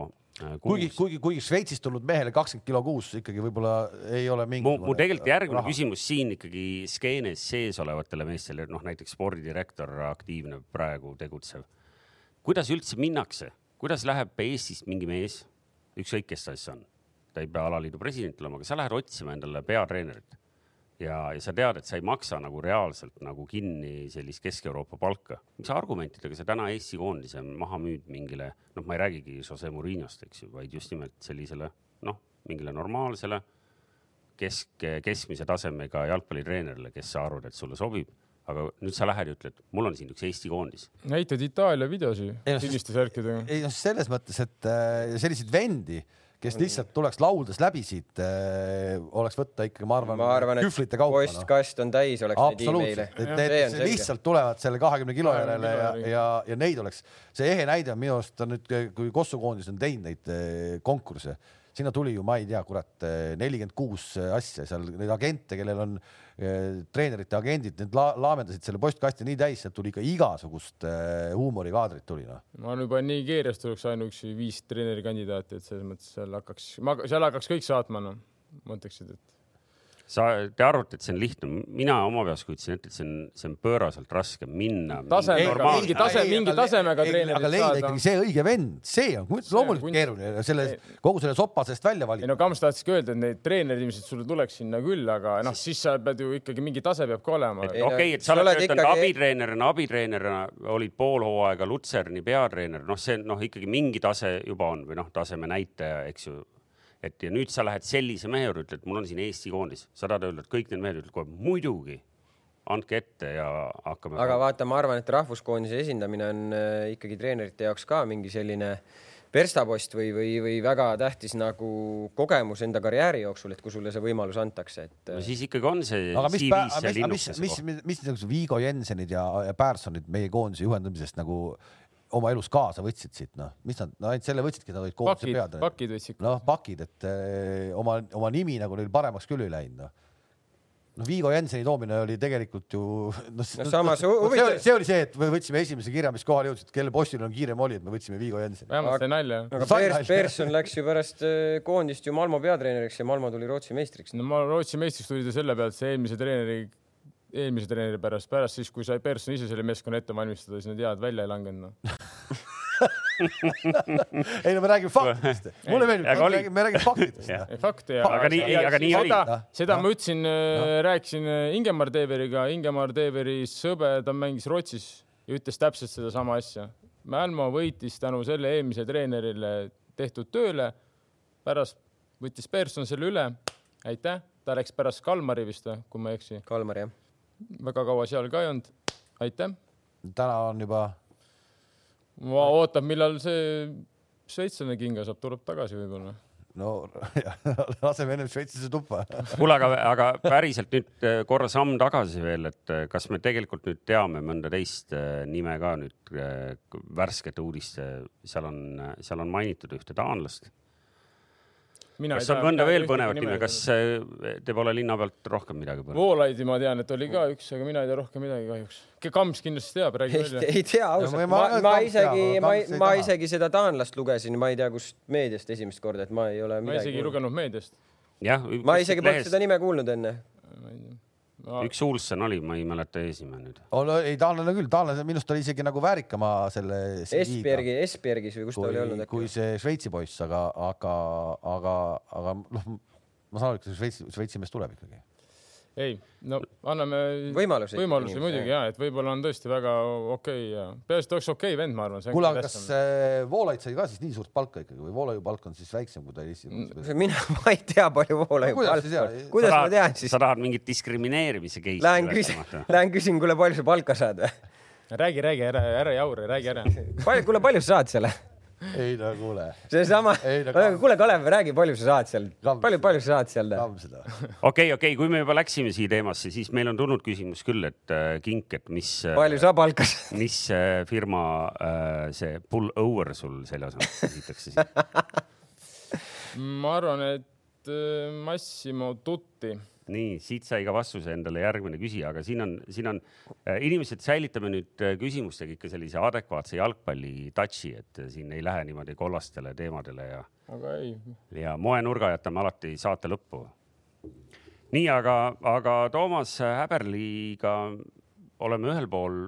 äh,
kuigi ,
kuus .
kuigi , kuigi Šveitsist tulnud mehele kakskümmend kilo kuus ikkagi võib-olla ei ole mingi . äh,
mu , mu tegelikult järgmine raha. . küsimus siin ikkagi skeenes sees olevatele meestele , noh näiteks spordidirektor aktiivne praegu tegutsev . kuidas üldse minnakse , kuidas läheb Eestist mingi mees , ükskõik kes ta siis on , ta ei pea alaliidu president olema , aga sa lähed otsima endale peatreenerit ja , ja sa tead , et sa ei maksa nagu reaalselt nagu kinni sellist Kesk-Euroopa palka . mis argumentidega sa täna Eesti koondise maha müüd mingile , noh , ma ei räägigi Jose Murinost , eks ju , vaid just nimelt sellisele noh , mingile normaalsele kesk , keskmise tasemega jalgpallitreenerile , kes sa arvad , et sulle sobib , aga nüüd sa lähed ja ütled , mul on siin üks Eesti koondis .
näitad Itaalia videosi
Ei, no siis-
siniste särkidega .
ei noh , selles mõttes , et äh, selliseid vendi , kes lihtsalt tuleks lauldes läbi siit äh, , oleks võtta ikkagi , ma arvan ,
ma arvan , et
kühvlite kaupa noh.
postkast on täis , oleks neid emaile
absoluutselt ,. et need kes lihtsalt tulevad selle kahekümne kilo
20
järele ja
kilo , järgi.
ja , ja neid oleks , see ehe näide on minu arust on nüüd , kui Kossu koondis on teinud neid eh, konkursse , sinna tuli ju , ma ei tea , kurat , nelikümmend kuus eh, asja seal neid agente , kellel on eh, treenerite agendid , need la laamendasid selle postkasti nii täis , sealt tuli ikka igasugust eh, huumorikaadrit tuli noh .
ma arvan , juba Nigeeriast tuleks ainuüksi viis treenerikandidaati , et selles mõttes seal hakkaks , seal hakkaks kõik saatma , noh , mõtleksid , et
sa , te arvate , et see on lihtne , mina oma peas kujutasin ette , et see on , see on pööraselt raske minna .
Taseme-
normaalne.
mingi tase- mingi tasemega treenerit
aga leida
saada.
ikkagi see õige vend , see on kunst- loomulikult
kunst.
keeruline , selles kogu selle sopa seest välja
ei
valida
no . Kams tahtski öelda , et neid treenereid ilmselt sulle tuleks sinna küll , aga noh , siis sa pead ju ikkagi mingi tase peab ka olema .
Ei no
okei , et sa
sa
oled
oled
töötanud
ikkagi-
abitreenerina , abitreenerina olid pool hooaega Lutserni peatreener , noh , see on, noh , ikkagi mingi tase juba on või noh , taseme näitaja , eks ju . et ja nüüd sa lähed sellise mehe juurde , ütled , mul on siin Eesti koondis , sa tahad öelda , et kõik need mehed ütlevad kohe muidugi , andke ette ja hakkame .
aga vaata , ma arvan , et rahvuskoondise esindamine on äh, ikkagi treenerite jaoks ka mingi selline verstapost või , või , või väga tähtis nagu kogemus enda karjääri jooksul , et kui sulle see võimalus antakse , et
no
äh,
siis ikkagi on see
aga mis ,
CV-s see
mis , mis ,
linnukese
mis
koht .,
mis, mis niisugused Vigo Jensenid ja , ja Pärsonid meie koondise juhendamisest nagu oma elus kaasa võtsid siit , noh , mis nad no, , ainult selle võtsidki , nad olid koondise
pakid ,
pead .
pakid võtsid .
noh , pakid , et eh, oma , oma nimi nagu neil paremaks küll ei läinud , noh . noh , Vigo Jenseni toomine oli tegelikult ju no, .
samas
see,
huvitav-
oli- see oli see , et me võtsime esimese kirja , mis kohale jõudis , et kelle postil on kiirem oli , et me võtsime Vigo Jenseni .
vähemalt sai nalja .
aga
sai
Pers- ,
nalja.
Persson läks ju pärast äh, koondist ju Malmo peatreeneriks ja Malmo tuli Rootsi meistriks .
no ma Rootsi meistriks tuli ta selle pealt , see eelmise treeneri eelmise treeneri pärast , pärast siis , kui sai Persson ise selle meeskonna ette valmistada , siis need head välja ei langenud noh. no. .
ei no me räägime faktidest . mulle
aga oli-
meeldib , me räägime faktidest . noh.
fakte ja .
Aga nii- ei, aga nii oli.
seda, seda
Jah.
ma ütlesin , rääkisin äh, Ingemar Teeveriga , Ingemar Teeveri sõber , ta mängis Rootsis ja ütles täpselt sedasama asja . Mälmo võitis tänu selle eelmise treenerile tehtud tööle . pärast võttis Pearson selle üle . aitäh , ta läks pärast Kalmari vist või , kui ma ei eksi ,
Kalmar jah .
väga kaua seal ka ei olnud . aitäh ,
Noh, täna on juba ,
ootab , millal see sveitslane kinga saab , tuleb tagasi võib-olla .
no laseme ennem Šveitsisse tuppa .
kuule , aga , aga päriselt nüüd eh, korra samm tagasi veel , et eh, kas me tegelikult nüüd teame mõnda teist eh, nime ka nüüd eh, k- värskete uudiste , seal on , seal on mainitud ühte taanlast . kas on mõnda veel põnevat nime , kas eh, te pole linna pealt rohkem midagi põnevat ?
Voolaidi ma tean , et oli ka üks , aga mina ei tea rohkem midagi kahjuks . Kams kindlasti teab , räägi välja .
ei tea
ma
ausalt ,
ei-
ma
ma arvan, , et
ma
Kamps teab,
isegi
aga ,
ma
Kamps , ei
ma
taha.
isegi seda taanlast lugesin , ma ei tea , kust meediast esimest korda , et ma ei ole
ma isegi ei
midagi .
lugenud meediast .
jah ,
ma isegi polnud seda nime kuulnud enne .
üks Ulsen oli , ma ei mäleta eesnime nüüd .
on , Oh, ei taanlane küll , taanlane , minu arust oli isegi nagu väärikama selle .
Esbergi , Esbergis või kus ta oli olnud
kui , kui
äkki ?
see Šveitsi poiss , aga , aga , aga , aga noh , ma saan aru , et see Šveitsi , Šveitsi mees tuleb ikkagi .
ei , no anname
Võimalusi ikka
võimalusi
inimesele,
muidugi ja , et võib-olla on tõesti väga okei ja peaasi , et oleks okei vend , ma arvan .
kuule , aga kas äh, Voolaid sai ka siis nii suurt palka ikkagi või Voolaiu palk on siis väiksem kui ta Eesti mm. ?
mina , ma ei tea , palju Voola ju
No kuidas sa
palka on
tead? .
kuidas ma tean siis
sa ? tahad mingit diskrimineerimise case'i ?
Lähen küsin , lähen küsin , kuule , palju sa palka saad või ?
räägi , räägi ära , ära jaure , räägi ära .
palju , kuule , palju sa saad selle ?
ei no kuule ,
seesama
Ei, no , Kalev-
kuule , Kalev , räägi , palju sa saad seal ,
Kalev-
palju , palju sa saad seal ?
tahame seda .
okei , okei , kui me juba läksime siia teemasse , siis meil on tulnud küsimus küll , et äh, kink , et mis ,
palju sa palka saad ?
mis äh, firma äh, see pull over sul seljas on , küsitakse siis .
ma arvan , et äh, Massimo Tutti .
nii , siit sai ka vastuse endale järgmine küsija , aga siin on , siin on äh, , inimesed , säilitame nüüd äh, küsimustega ikka sellise adekvaatse jalgpalli touch'i , et äh, siin ei lähe niimoodi kollastele teemadele ja
aga ei ,
ja moenurga jätame alati saate lõppu . nii , aga , aga Toomas Häberliga oleme ühel pool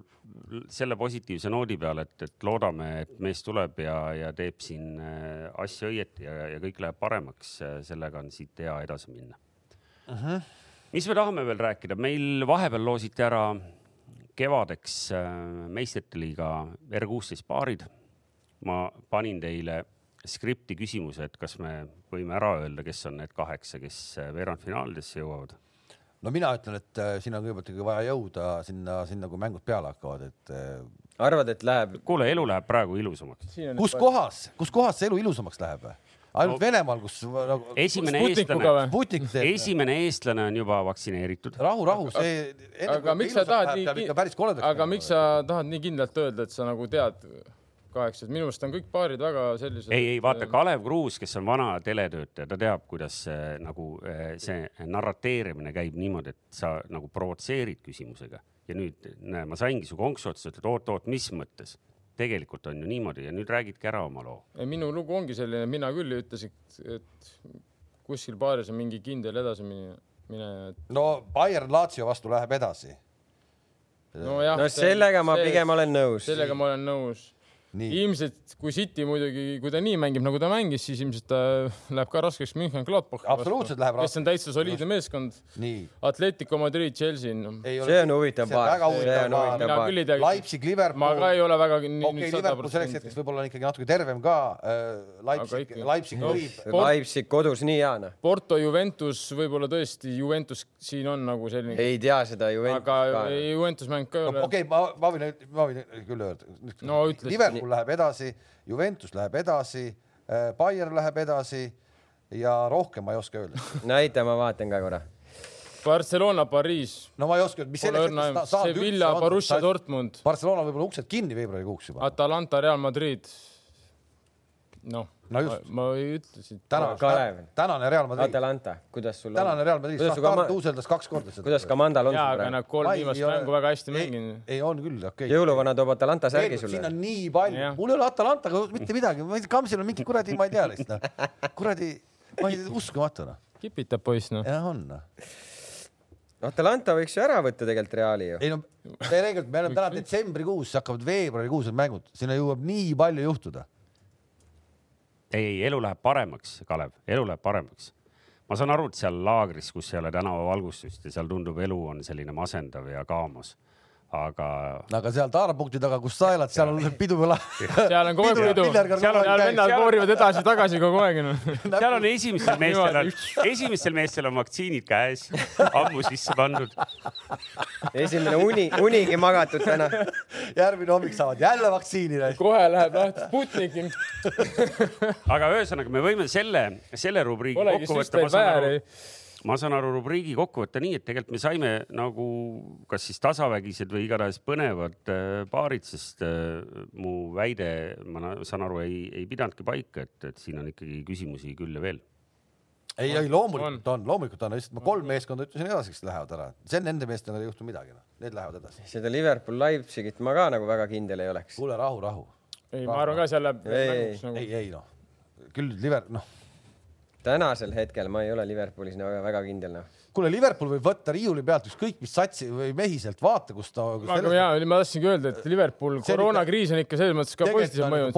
selle positiivse noodi peal , et , et loodame , et mees tuleb ja , ja teeb siin äh, asju õieti ja , ja kõik läheb paremaks . sellega on siit hea edasi minna . mis me tahame veel rääkida , meil vahepeal loositi ära kevadeks äh, meistrite liiga R16 paarid . ma panin teile skripti küsimuse , et kas me võime ära öelda , kes on need kaheksa , kes äh, veerandfinaalidesse jõuavad .
no mina ütlen , et äh, sinna on kõigepealt ikkagi vaja jõuda sinna , sinna , kui mängud peale hakkavad , et äh,
arvad , et läheb ?
kuule , elu läheb praegu ilusamaks .
siin on
kus kohas , kus kohas see elu ilusamaks läheb ? ainult no, Venemaal , kus nagu
esimene
Sputnikuga
eestlane ,
või ?
Putin teeb ,
esimene eestlane on juba vaktsineeritud .
rahu , rahu , see .
aga miks sa tahad
peab
nii
ikka , päris koledaks .
aga miks sa tahad nii kindlalt öelda , et sa nagu tead kaheksa , et minu meelest on kõik paarid väga sellised .
ei , ei vaata , Kalev Kruus , kes on vana teletöötaja , ta teab , kuidas äh, nagu äh, see narrateerimine käib niimoodi , et sa nagu provotseerid küsimusega ja nüüd näe , ma saingi su konksu otsa , ütled oot-oot , mis mõttes . tegelikult on ju niimoodi ja nüüd räägidki ära oma loo .
ei , minu lugu ongi selline , mina küll ei ütles , et , et kuskil baaris on mingi kindel edasimineja , mineja , et
no Bayern Lazio vastu läheb edasi .
nojah .
no sellega ma pigem olen nõus .
Ah, sellega ma olen nõus .
nii ,
ilmselt kui City muidugi , kui ta nii mängib , nagu ta mängis , siis ilmselt ta läheb ka raskeks München Gladbachi
Absoluutselt läheb
raskeks . kes on täitsa soliidne meeskond .
nii .
Atletico Madrid , Chelsea , noh .
see on huvitav paar .
väga huvitav paar .
Mina küll ei tea.
Leipzig , Liverpool .
ma ka ei ole väga nii
okei okay, , Liverpool selleks hetkeks . võib-olla on ikkagi natuke tervem ka .
Aga
Leipzig
ikka. ,
Leipzig
No.
võib .
Leipzig kodus nii hea noh .
Porto Juventus , võib-olla tõesti Juventus siin on nagu selline ,
ei tea seda Juventus
aga
ka . noh.
Juventus mäng ka ei ole .
okei , ma , ma võin , ma võin küll öelda .
No ütle siis.
Liverpool läheb edasi , Juventus läheb edasi , Bayern läheb edasi ja rohkem ma ei oska öelda .
näita , ma vaatan ka korra .
Barcelona , Pariis
no ma ei oska öelda , mis
Pole õrna
hetkest
aimu .
sa- saad
Sevilla ,
üldse
Borussia
anda.
Dortmund ,
Barcelona võib-olla uksed kinni veebruarikuuks juba .
Atalanta , Real Madrid . noh ,
No just.
ma ei ütle siit .
täna
Kalev. ,
tänane Real Madrid ,
Atalanta , kuidas sul
tänane Real Madrid ,
kuidas su
Sahtar
kama- ,
tuuseldas kaks korda seda .
kuidas Kamandal on
jaa ,
sul
aga nagu-
praegu ?
nad kolm viimast mängu väga hästi mänginud .
ei , on küll , okei okay. .
jõuluvana toob Atalanta
siin
särgi sulle
on . nii palju
Jah. ,
mul ei ole Atalantaga mitte midagi , ma ei tea , Kamsil on mingi kuradi , ma ei tea lihtsalt noh , kuradi , ma ei tea , uskumatu noh ,
kipitab poiss , noh .
jah on noh .
Atalanta võiks ju ära võtta tegelikult Reali ju .
ei no tegelikult me oleme täna detsembrikuus , hakkavad veebruarikuus need mängud , sinna jõuab nii palju juhtuda .
ei , ei elu läheb paremaks , Kalev , elu läheb paremaks . ma saan aru , et seal laagris , kus ei ole tänavavalgustust ja seal tundub , elu on selline masendav ja kaamas , aga
aga seal taarapunkti taga , kus sa elad , seal on pidu või lahe .
seal on kogu aeg pidu , seal on , vennad koorivad edasi-tagasi kogu aeg noh. no. .
seal on esimestel meestel on , esimestel meestel on vaktsiinid käes , ammu sisse pandud .
esimene uni , unigi magatud täna .
järgmine hommik saavad jälle vaktsiini . noh.
kohe läheb lahti Sputniki ,
aga ühesõnaga , me võime selle , selle rubriigi
polegi
kokku võtta , ma
süsteem
saan
väär
aru ,. ma saan aru rubriigi kokku võtta nii , et tegelikult me saime nagu kas siis tasavägised või igatahes põnevad äh, paarid , sest äh, mu väide , ma na- saan aru , ei , ei pidanudki paika , et , et siin on ikkagi küsimusi küll ja veel .
ei , ei loomulikult on, on , loomulikult on , lihtsalt ma kolm meeskonda ütlesin edasi , kes lähevad ära , see nende meestega ei juhtu midagi , noh , need lähevad edasi .
seda Liverpool Leipzigit ma ka nagu väga kindel ei oleks .
kuule , rahu , rahu .
ei , ma arvan ka , seal läheb
Ei,
mänguks nagu
ei , ei noh , küll liver , noh ,
tänasel hetkel ma ei ole Liverpoolis nagu väga kindel noh .
kuule , Liverpool võib võtta riiuli pealt ükskõik mis satsi või mehi sealt , vaata , kus ta .
aga ja ma tahtsingi öelda , et Liverpool
See on
koroonakriis on ikka selles mõttes ka
Tegelikult on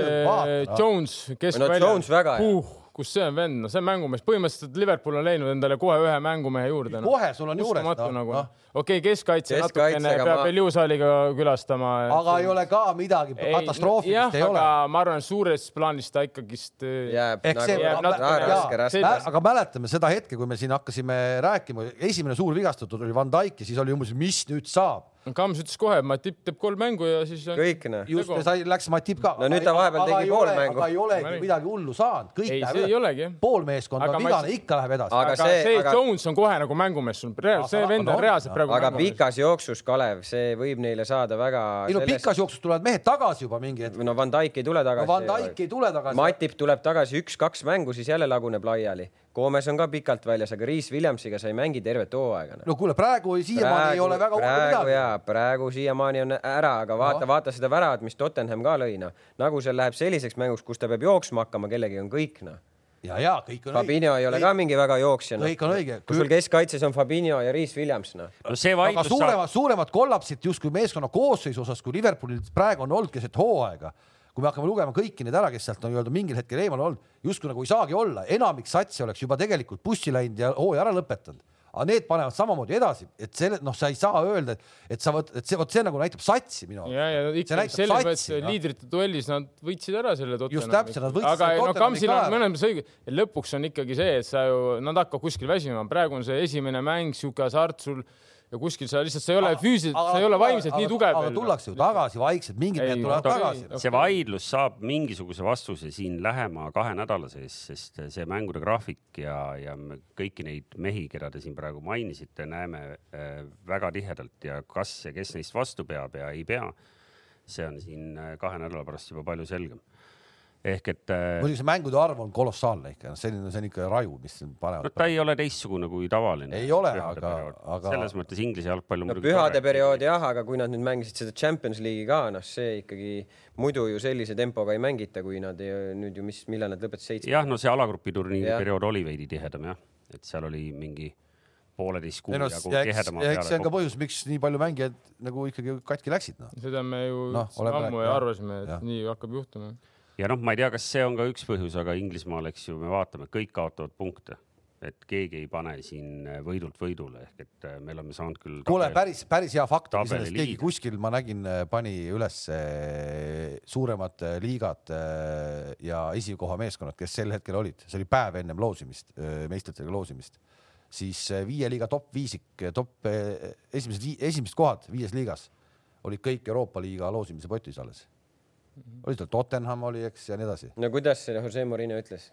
nagu positiivselt
mõjunud .
mõjunud, vaata. noh.
Jones , kes
No Jones väga hea.
uh, , kus see on vend , no see on mängumees , põhimõtteliselt Liverpool on leidnud endale kohe ühe mängumehe juurde no. .
kohe sul on juures ,
uskumatu
noh ,
nagu
noh ,
okei , keskkaitse
Keskkaitsega
natukene peab
ma-
veel Juusaaliga külastama .
aga ei ole ka midagi katastroofilist , ei ole .
aga ma arvan , suures plaanis ta ikkagist . eh,
jääb
eks see
jääb
jääb
nagu
natuke-
natuke
väga raske ,
jaa.
raske .
See-
jaa , aga mäletame seda hetke , kui me siin hakkasime rääkima , esimene suur vigastatud oli Van Dijk ja siis oli umbes , mis nüüd saab .
Kams ütles kohe , et Matip teeb kolm mängu ja siis on .
kõik noh .
just
Tegu-
sai , läks Matip ka .
No nüüd ta vahepeal tegi pool mängu.
aga ei olegi
Mäng.
midagi hullu saanud , kõik
ei , see
läheb
ei
üle .
olegi jah .
pool meeskonda
Aga
on
ma
vigane ,
ei-
ikka läheb edasi .
Aga
aga
see-
see, see
aga-
aga... Jones on kohe nagu mängumees , sul reaalselt , see
Aga-
vend
aga
on
on,
reaalselt
jah.
praegu
aga
mängumees .
pikas jooksus , Kalev , see võib neile saada väga .
ei no pikas jooksus tulevad mehed tagasi juba mingi hetk .
no Van Dijk ei tule tagasi .
Van Dijk ei tule tagasi.
Matip tuleb tagasi üks-kaks mängu , siis jälle laguneb laiali . Koomes on ka pikalt väljas , aga Riis Williamsiga sa ei mängi tervet hooaega .
no kuule , praegu siiamaani ei ole väga hullu
praegu
midagi .
jaa , praegu siiamaani on ära , aga vaata , vaata seda väravat , mis Tottenham ka lõi , noh . nagu see läheb selliseks mänguks , kus ta peab jooksma hakkama , kellegi on kõik , noh .
ja , ja kõik on õige .
Fabinho ei ole ka mingi väga jooksja , noh .
kõik on õige.
kui sul keskkaitses on Fabinho ja Riis Williams , noh .
no see
aga
vaidlus
suuremad , suuremad kollapsid justkui meeskonna koosseisu osas , kui Liverpoolil praegu on olnud keset hooaega , kui me hakkame lugema kõiki neid ära , kes sealt on nii-öelda mingil hetkel eemal olnud , justkui nagu ei saagi olla , enamik satsi oleks juba tegelikult bussi läinud ja hooaja ära lõpetanud . aga need panevad samamoodi edasi , et selle , noh , sa ei saa öelda , et , et sa vot , et see , vot see nagu näitab satsi minu
ja , ja
arust . see
ikka selles
näitab
mõttes
satsi .
liidrite duellis nad võitsid ära selle Tottenhami .
täpselt, nad võitsid
aga
selle
no
Tottenhami
Kamsil
ka
on
ära.
mõnes mõttes õige , lõpuks on ikkagi see , et sa ju , nad hakkavad kuskil väsima , praegu on see esimene mäng , sihuke hasart sul ja kuskil sa lihtsalt , sa ei ole füüsiliselt , sa ei ole vaimselt nii tugev noh.
aga tullakse ju tagasi vaikselt , mingid
Ei,
mehed tulevad
okei,
tagasi .
okei.
see vaidlus saab mingisuguse vastuse siin lähema kahe nädala sees , sest see mängude graafik ja , ja me kõiki neid mehi , keda te siin praegu mainisite , näeme äh, väga tihedalt ja kas ja kes neist vastu peab ja ei pea . see on siin äh, kahe nädala pärast juba palju selgem . ehk et äh,
muidugi see mängude arv on kolossaalne ikka , selline , see on ikka raju , mis siin
no
panevad .
ta ei ole teistsugune kui tavaline .
Ei ole, aga- aga-
selles mõttes Inglise jalgpall on
no pühade . periood jah , aga kui nad nüüd mängisid seda Champions League'i ka , noh , see ikkagi muidu ju sellise tempoga ei mängita , kui nad ei, nüüd ju , mis , millal nad lõpetasid seitsme .
jah , no see alagrupiturniiri
Jah.
periood oli veidi tihedam jah , et seal oli mingi pooleteist kuu
ei no
jagu
ja eks ,
nagu tihedama
eks see on
peale
ka . põhjus , miks nii palju mängijaid nagu ikkagi katki läksid no. .
seda me ju
Noh,
no,
oleme
ammu
rääkinud,
ju
jah.
arvasime , et
Jah.
ja. nii hakkab juhtuma .
ja noh , ma ei tea , kas see on ka üks põhjus , aga Inglismaal , eks ju , me vaatame , kõik kaotavad punkte , et keegi ei pane siin võidult võidule ehk et äh, me oleme saanud küll .
kuule , päris , päris hea fakt on
Tabeli
iseenesest , keegi
liider.
kuskil , ma nägin , pani üles eh, suuremad eh, liigad eh, ja esikoha meeskonnad , kes sel hetkel olid , see oli päev ennem loosimist , meistritega loosimist , siis eh, viie liiga top viisik , top eh, esimesed , esimesed kohad viies liigas olid kõik Euroopa liiga loosimise potis alles . oli seal Tottenham oli , eks , ja nii edasi .
no kuidas see Jose Mourinho ütles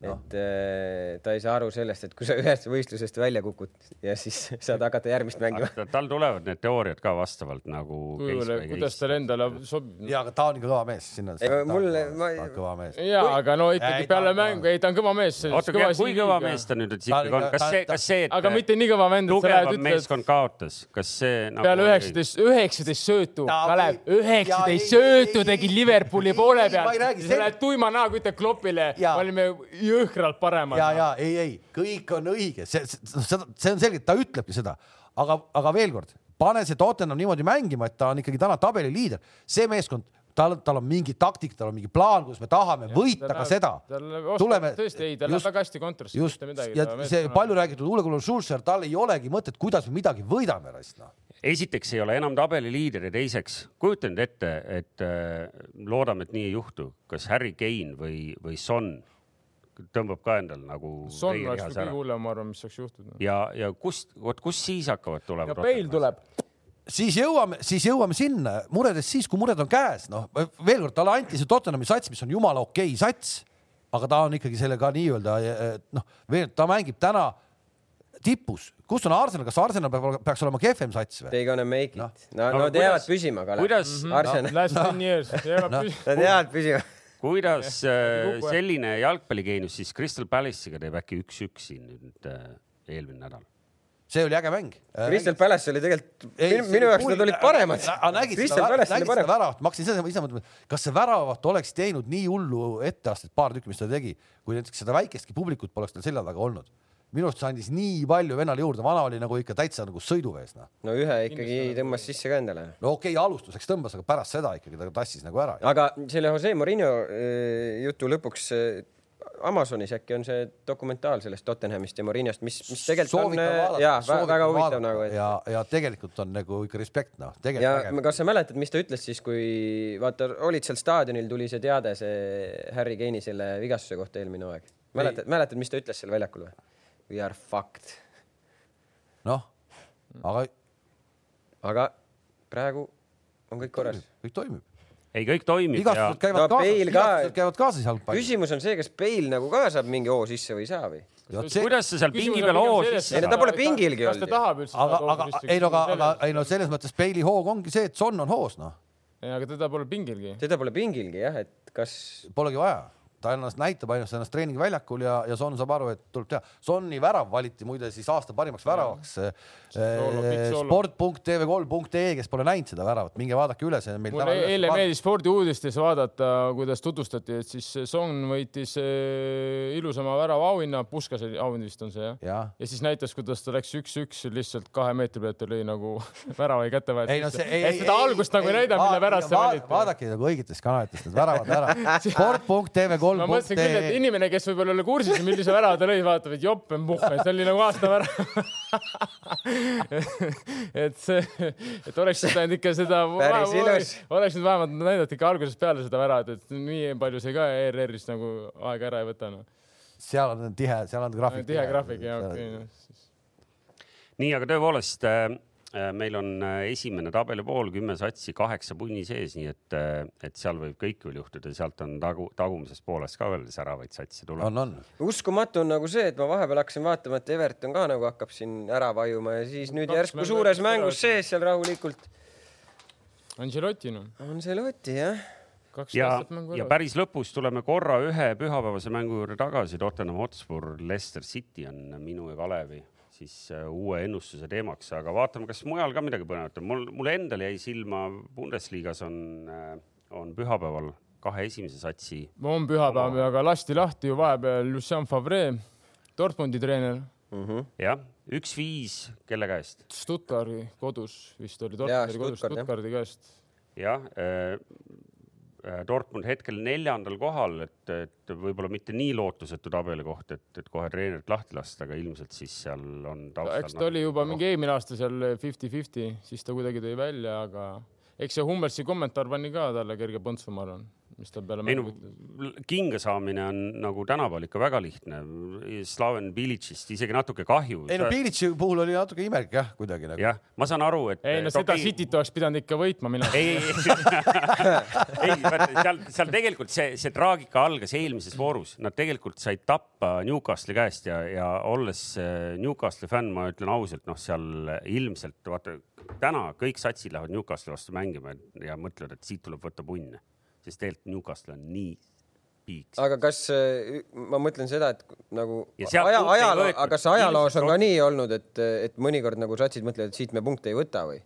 no. ? et äh, ta ei saa aru sellest , et kui sa ühest võistlusest välja kukud ja siis saad hakata järgmist mängima .
tal tulevad need teooriad ka vastavalt nagu .
kujule , kuidas talle endale sobib .
ja , aga ta on ikka kõva mees , sinna .
Ei, mulle- ma-
kõva mees .
ja , aga no ikkagi
Ei, ta
peale
on kõva.
mängu , ei ta on kõva mees .
oota , kui kõva mees ta nüüd siis
Ta oli
ikkagi on ,
ka-
kas
ta-
see ,
ta-
kas see , et äh,
aga mitte nii kõva vend , et sa lähed
tugevam
ütled ,
meeskond kaotas , kas see nagu...
peale üheksateist , üheksateist söötu ,
Ta
Kalev ,
võib- ja ei-
üheksateist söötu
ei-
tegi
ei-
Liverpooli poole
ei- ma ei
peal
räägi .
sa
sel-
lähed tuima näoga , ütled Kloppile ,
Jaa.
olime jõhkralt paremad .
ja , ja ei , ei , kõik on õige , see , see , see on selge , ta ütlebki seda , aga , aga veel kord , pane see Tottenham niimoodi mängima , et ta on ikkagi täna tabeli liider , see meeskond , tal , tal on mingi taktika , tal on mingi plaan , kus me tahame ja, võita ka seda .
tuleme . tõesti ei , ta läheb väga hästi kontrasse .
just ja see palju . räägitud Ulle Gunnar Schulzer , tal ei olegi mõtet , kuidas me midagi võidame , raisk noh .
esiteks ei ole enam tabeliliider ja teiseks kujuta nüüd ette , et äh, loodame , et nii ei juhtu , kas Harry Kane või , või Son tõmbab ka endal nagu .
Son oleks küll kõige hullem , ma arvan , mis saaks
Noh,
juhtuda .
ja , ja kust , vot kust siis hakkavad tulema
ja . Bale tuleb .
siis jõuame , siis jõuame sinna muredest siis , kui mured on käes , noh veel kord talle anti see Tottenhami sats , mis on jumala okei sats , aga ta on ikkagi selle ka nii-öelda eh, noh , veel ta mängib täna tipus , kus on Arsenal , kas Arsenal peab , peaks olema kehvem sats või ?
They gonna make it
Noh. .
no ,
Aga
nad jäävad
kuidas-
püsima , Kalev .
kuidas ,
Arsenal ,
Last ten years , jäävad
Noh.
püsima .
nad jäävad püsima .
kuidas äh,
Kukku, jah.
selline jalgpalligeenius siis Crystal Palace'iga teeb äkki üks-üks siin nüüd äh, eelmine nädal ?
see oli äge mäng .
Crystal Palace oli tegelikult , minu jaoks nad olid paremad .
aga nägid
Crystal
seda , nägid
Palace oli
seda
parem .
väravat , ma hakkasin ise , ise mõtlema , kas see väravat oleks teinud nii hullu etteastet paar tükki , mis ta tegi , kui näiteks seda väikestki publikut poleks tal selja taga olnud . minu arust see andis nii palju vennale juurde , vana oli nagu ikka täitsa nagu sõiduvees noh .
no ühe ikkagi tõmbas sisse ka endale
no okei okay, , alustuseks tõmbas , aga pärast seda ikkagi ta tassis nagu ära .
aga selle Jose Mourinho äh, jutu lõpuks äh, Amazonis äkki on see dokumentaal sellest Tottenhamist ja Mourinhost , mis , mis tegelikult on äh, jaa , väga huvitav nagu . et
ja , ja tegelikult on nagu ikka respekt noh ,
ja
tegelikult äge .
kas sa mäletad , mis ta ütles siis , kui vaata , olid seal staadionil , tuli see teade , see Harry Keini selle vigastuse kohta eelmine aeg . mäletad , mäletad , mis ta ütles seal väljakul või ? We are fucked .
noh , aga
aga praegu on kõik korras .
kõik toimib .
ei , kõik toimib ja
igasugused käivad
No
kaasas ,
Bale ka-
igasugused käivad kaasas jalgpallis .
küsimus on see , kas Bale nagu ka saab mingi hoo sisse või ei saa või ?
kuidas sa seal pingi peal hoo sisse
Ei, no ta
saad ?
pole pingilgi
olnud . kas ta
olnud ju.
tahab üldse ?
aga , aga ei no aga , aga ei no selles mõttes Bale'i hoog ongi see , et Son on hoos noh ,
ei , aga teda pole pingilgi .
seda pole pingilgi jah , et kas
polegi vaja ta ennast näitab ainult ennast treeningväljakul ja , ja Son saab aru , et tuleb teha . Sonni värav valiti muide siis aasta parimaks väravaks . eh,
Soolo, pikk soolo.
sport.tv3.ee , kes pole näinud seda väravat , minge vaadake üle , see on meil
mulle
üles
eile
pandud.
meeldis spordiuudistes vaadata , kuidas tutvustati , et siis Song võitis eh, ilusama värava auhinna , Puskas oli- auhind vist on see jah ?
jah ,
ja siis näitas , kuidas ta läks üks-üks lihtsalt kahe meetri pealt ja lõi nagu värava ei kätte
ei no see ei ,
et seda algust nagu ei näida , mille pärast see valiti .
vaadake nagu õigetest kanalitest need väravad ära . sport.tv3.ee .
ma mõtlesin küll , et inimene , kes võib-olla ei ole kursis , millise värava ta lõi , vaatab , et jopp , muhve , see oli nagu aasta värav . et see , et oleks nüüd ainult ikka seda ,
Päris ilus.
oleks nüüd vähemalt näidanud ikka algusest peale seda väravat , et nii palju see ka ERR-ist nagu aega ära ei võta no. .
seal on tihe , seal on graafik .
tihe graafik ja okei noh. okay, .
nii , aga tõepoolest äh, äh, meil on äh, esimene tabelipool , kümme satsi , kaheksa punni sees , nii et , et seal võib kõik veel juhtuda , sealt on tagu , tagumises pooles ka veel säravaid satse tuleb .
on , on .
uskumatu on nagu see , et ma vahepeal hakkasin vaatama , et Everton ka nagu hakkab siin ära vajuma ja siis nüüd
Kaks
järsku
mängu
suures
järjest
mängus
ära.
sees seal rahulikult
Angelotti noh ,
on see loti jah .
kaks
ja
aastat mängu ,
ja . päris lõpus tuleme korra ühe pühapäevase mängu juurde tagasi , Tottenham Hotspur , Leicester City on minu ja Kalevi siis äh, uue ennustuse teemaks , aga vaatame , kas mujal ka midagi põnevat on . mul , mul endal jäi silma , Bundesliga's on , on pühapäeval kahe esimese satsi
on pühapäev , aga lasti lahti ju vahepeal Lucien Favre , Dortmundi treener ,
jah , üks-viis , kelle käest ?
Stuttgari kodus vist oli ,
Jaa,
Dortmundi kodus
Stuttgart, jah.
Stuttgardi käest
jah , Dortmund hetkel neljandal kohal , et , et võib-olla mitte nii lootusetu tabeli koht , et , et kohe treenerit lahti lasta , aga ilmselt siis seal on noh. taustal . nagu-
eks ta oli juba mingi . eelmine aasta seal fifty-fifty , siis ta kuidagi tõi välja , aga eks see Hummelsi kommentaar pani ka talle kerge põntsu , ma arvan , mis ta peale
ei no
mängu ütles .
kinga saamine on nagu tänapäeval ikka väga lihtne . Slaven Bilicist isegi natuke kahju .
ei no Pilitši puhul oli natuke imelik jah , kuidagi nagu .
jah , ma saan aru , et .
ei no seda okay. Cityt oleks pidanud ikka võitma mina .
eh, ei , ei , ei , seal , seal tegelikult see , see traagika algas eelmises voorus , nad tegelikult said tappa Newcastle'i käest ja , ja olles äh, Newcastle'i fänn , ma ütlen ausalt , noh , seal ilmselt vaata täna kõik satsid lähevad Newcastle'i vastu mängima ja mõtlevad , et siit tuleb võtta punne , sest tegelikult Newcastle on nii piiks .
aga kas äh, ma mõtlen seda , et nagu
Ja sealt
aja ,
punkte ei
ajaloo ,
võetud.
aga kas ajaloos
Ilmselt
on ka
rohkem.
nii olnud , et , et mõnikord nagu satsid mõtlevad , et siit me punkte ei võta või ?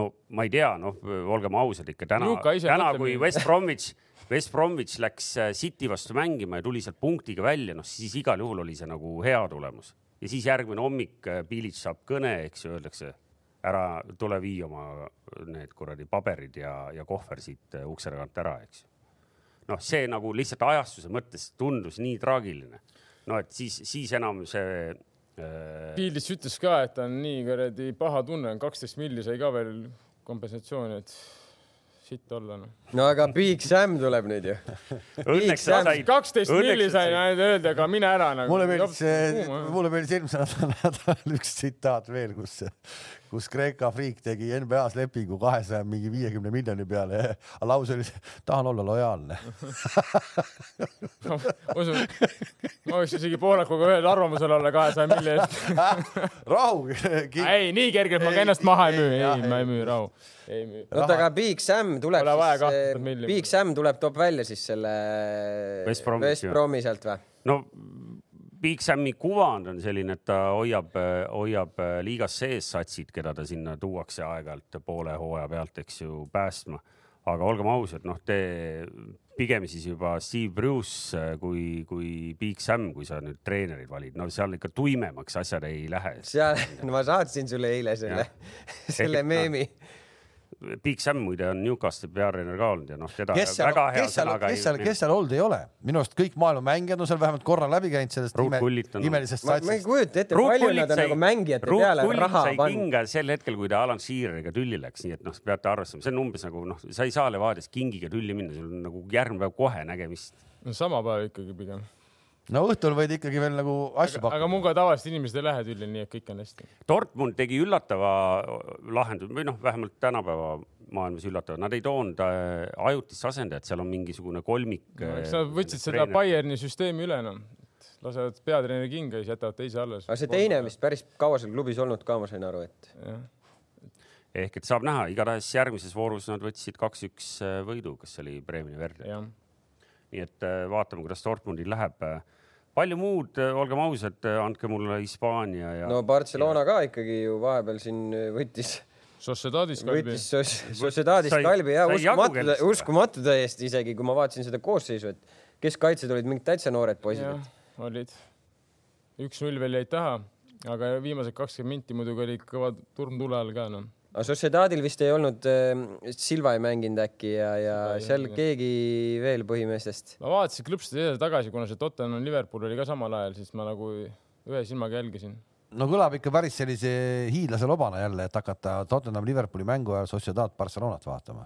no ma ei tea, noh, olgem ausad ikka täna,
Luka ise
täna
mõtle,
kui
mida-
West Bromwich , West Bromwich läks äh, City vastu mängima ja tuli sealt punktiga välja , noh siis igal juhul oli see nagu hea tulemus ja siis järgmine hommik äh, Pilic saab kõne , eks ju , öeldakse ära tule vii oma äh, need kuradi paberid ja , ja kohver siit äh, ukse tagant ära , eks ju . noh , see nagu lihtsalt ajastuse mõttes tundus nii traagiline . no et siis , siis enam see äh,
Pildis ütles ka , et ta on nii kuradi paha tunne , kaksteist milli sai ka veel kompensatsiooni , et sitt olla noh .
no aga Big Sam tuleb nüüd ju .
õnneks sa said .
kaksteist milli sai , öelda , aga mine ära nagu .
mulle meeldis , mulle meeldis eelmisel nädalal- nädalal üks tsitaat veel , kus , kus Kreeka friik tegi NBA-s lepingu kahesaja mingi viiekümne miljoni peale ja lause oli , tahan olla lojaalne .
ma usun , ma võiks isegi Poolakuga ühel arvamusel olla kahesaja milli eest .
rahu .
ei , nii kergelt ma ka ennast maha ei müü , ei , ma ei müü , rahu . ei müü .
oota , aga Big Sam tuleb
Pole vaja
siis äh,
kahtekümmet , miljonit.
Big Sam tuleb , toob välja siis selle
West Bromi-
West Bromi sealt või ?
no Big Sami kuvand on selline , et ta hoiab , hoiab äh, liigas sees satsid , keda ta sinna tuuakse aeg-ajalt poole hooaja pealt , eks ju , päästma . aga olgem ausad , noh , te pigem siis juba Steve Bruce äh, kui , kui Big Sam , kui sa nüüd treenerid valid , no seal ikka tuimemaks asjad ei lähe .
seal no, , ma saatsin sulle eile selle , selle
Selge-
meemi .
Big Sam muide on Newcastle peatreener ka olnud ja noh , teda
kes seal
väga , hea
kes seal ,
sõnaga
kes seal , kes seal olnud ei ole , minu arust kõik maailma mängijad on seal vähemalt korra läbi käinud sellest
Ruud
ime,
Kullit on-
imelisest
ma , ma ei
satsist .
kujuta ette , palju nad on nagu mängijate peale raha
sai
pannud .
kinga sel hetkel , kui ta Alan Sheareriga tülli läks , nii et noh , peate arvestama , see on umbes nagu noh , sa ei saa Levadias kingiga tülli minna , sul on nagu järgmine päev kohe nägemist .
no sama päev ikkagi pigem .
no õhtul võid ikkagi veel nagu asju
aga
pakkuda .
muga tavaliselt inimesed ei lähe tülli , nii et kõik on hästi .
Dortmund tegi üllatava lahenduse või noh , vähemalt tänapäeva maailmas üllatava , nad ei toonud äh, ajutist asendajat , seal on mingisugune kolmik . äh, nagu
eks nad võtsid seda Bayerni süsteemi üle noh , lasevad peatreeneri kinga ja siis jätavad teise alles .
aga see teine on vist päris kaua seal klubis olnud ka , ma sain aru , et
ehk et saab näha , igatahes järgmises voorus nad võtsid kaks-üks äh, võidu , kas see oli Breemeni verd ?
jah ,
nii et äh, vaatame , kuidas Dortmundil läheb . palju muud , olgem ausad , andke mulle Hispaania ja
no Barcelona ka ikkagi ju vahepeal siin äh, võttis ,
Sociedadis kalbi
võttis Sos- Sociedadist
Sai-
kalbi ja
sai jagu
uskumatu
kellestki , või?
uskumatu täiesti isegi , kui ma vaatasin seda koosseisu , et keskkaitsjad olid mingid täitsa noored poisid ,
jah , olid . üks-null veel jäid taha , aga viimased kakskümmend minti muidugi oli kõva turm tule all ka noh .
aga Sociedadil vist ei olnud äh, , Silva ei mänginud äkki ja , ja
Silva ei
seal
mänginud.
keegi veel põhimeestest .
ma vaatasin klõpsti teisele tagasi , kuna see Tottenham Liverpool oli ka samal ajal , siis ma nagu ühe silmaga jälgisin .
no kõlab ikka päris sellise hiidlase lobana jälle , et hakata Tottenham Liverpooli mängu ajal Sociedad Barcelonat vaatama .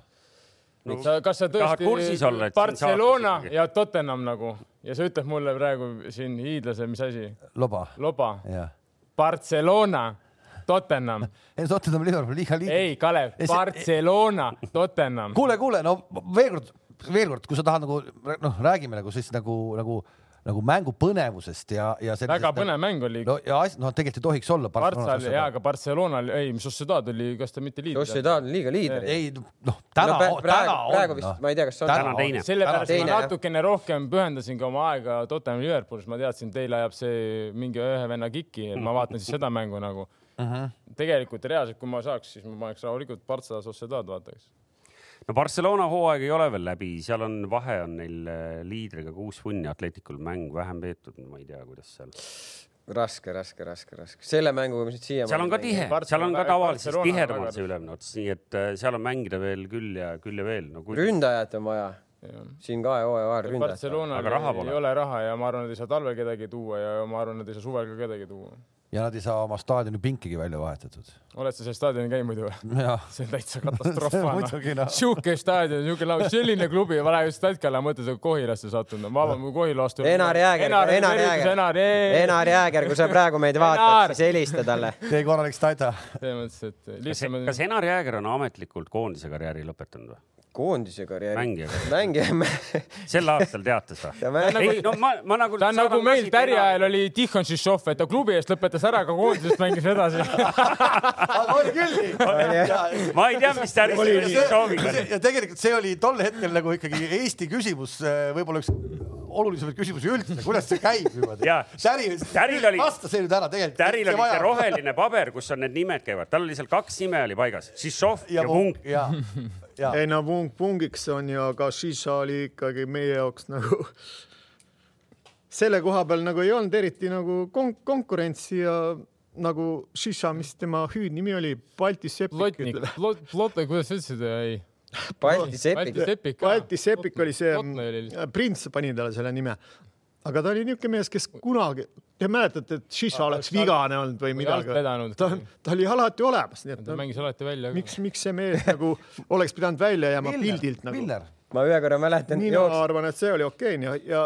No,
sa , kas sa
tahad kursis
tõesti
olla, et siin
Barcelona
saates ikkagi-
ja Tottenham nagu ja sa ütled mulle praegu siin hiidlase , mis asi ,
loba ,
loba ,
jah .
Barcelona , Tottenham ,
ei , Tottenham Liverpool liiga liiga .
ei Kalev
Ei, , see-
Barcelona , Tottenham .
kuule , kuule , no veel kord , veel kord , kui sa tahad nagu noh , räägime nagu siis nagu , nagu , nagu mängu põnevusest ja , ja .
väga põnev mäng oli .
no ja asi , noh , tegelikult ei tohiks olla .
Partsal ja , aga Barcelonal , ei , mis Sociedad oli , kas ta mitte liit ?
Sociedad on liiga liider .
ei noh , täna
No
no, ,
pra-
täna
praegu-
on . noh.
praegu vist- ma ei tea, kas on-
Täna teine.
sellepärast
Teine,
ma
jah.
natukene rohkem pühendasin ka oma aega Tottenhami Liverpoolis , ma teadsin , teil ajab see mingi ühe venna kiki , et ma vaatan siis seda mängu nagu uh . -huh. tegelikult reaalselt , kui ma saaks , siis ma paneks rahulikult Partsa Sociedad vaataks .
no Barcelona hooaeg ei ole veel läbi , seal on vahe on neil äh, liidriga kuus punni , Atleticul mäng vähem peetud , ma ei tea , kuidas seal .
raske , raske , raske , raske . selle mänguga , mis nüüd siiamaani .
seal on ka tihe ,
Barcelona-
seal on ka tavalises
Barcelona on
tihedamalt
väga-
see ülemine ots , nii et äh, seal on mängida veel küll ja küll ja veel . no kui
ründajat on vaja . siin ka hooaja vahel ründajat .
Barcelonal
Aga raha pole.
ei ole raha ja ma arvan , nad ei saa talvel kedagi tuua ja ma arvan , nad ei saa suvel ka kedagi tuua .
ja nad ei saa oma staadioni pinkigi välja vahetatud .
oled sa seal staadionil käinud muidu või ?
jah ,
see on täitsa katastroof on
muidugi, noh.
sihuke staadion , sihuke laul , selline klubi , ma lähen just Tätkale mõttes , et Kohilasse sattunud , ma arvan , kui Kohilast
Enar Jääger , Enar Jääger ,
Enar Jääger .
Enar Jääger , kui sa praegu meid
Enar!
vaatad , siis helista talle .
tee korralik tata .
selles mõttes , et
kas,
lihtsam on .
kas Enar Jääger on ametlikult koondise karjääri lõpetanud või ?
koondise karjääri .
mängija karjääri ?
mängija .
sel aastal teatas või ? ei , no ma , ma nagu .
ta on nagu meil Tärje ajal oli Tihon Šišov , et ta klubi eest lõpetas ära , aga koondisest mängis edasi .
oli küll nii .
ma ei tea , mis Tärje
ja tegelikult see oli tol hetkel nagu ikkagi Eesti küsimus , võib-olla üks olulisemaid küsimusi üldse , kuidas see käib niimoodi
Jaa. .
Täri
Täril oli- ,
vasta see nüüd ära tegelikult .
Täril oli see . roheline paber , kus on need nimed käivad , tal oli seal kaks nime oli paigas , Šišov ja,
ja
ja
punk
Vunk .
ja , ja
Ah.
ei no pung , pungiks on ju , aga šiša oli ikkagi meie jaoks nagu selle koha peal nagu ei olnud eriti nagu kon konkurentsi ja nagu šiša , mis tema hüüdnimi oli , Balti sepik
Plotnik ,
ütleme .
plot , plot , kuidas sa ütlesid , ei ?
Balti sepik .
sepik ka.
Balti sepik oli see äh,
Plotni oli lihtsalt. ,
prints pani talle selle nime . aga ta oli niisugune mees , kes kunagi , te mäletate , et šiša oleks vigane olnud
Või
või
alt
midagi
vedanud. ?
ta , ta oli alati olemas , nii et
ta
ta,
mängis alati välja .
miks , miks see mees nagu oleks pidanud välja jääma pildilt nagu ?
Miller ,
ma ühe korra mäletan ,
mina Jooks.
jooks- ,
arvan , et see oli okei ja , ja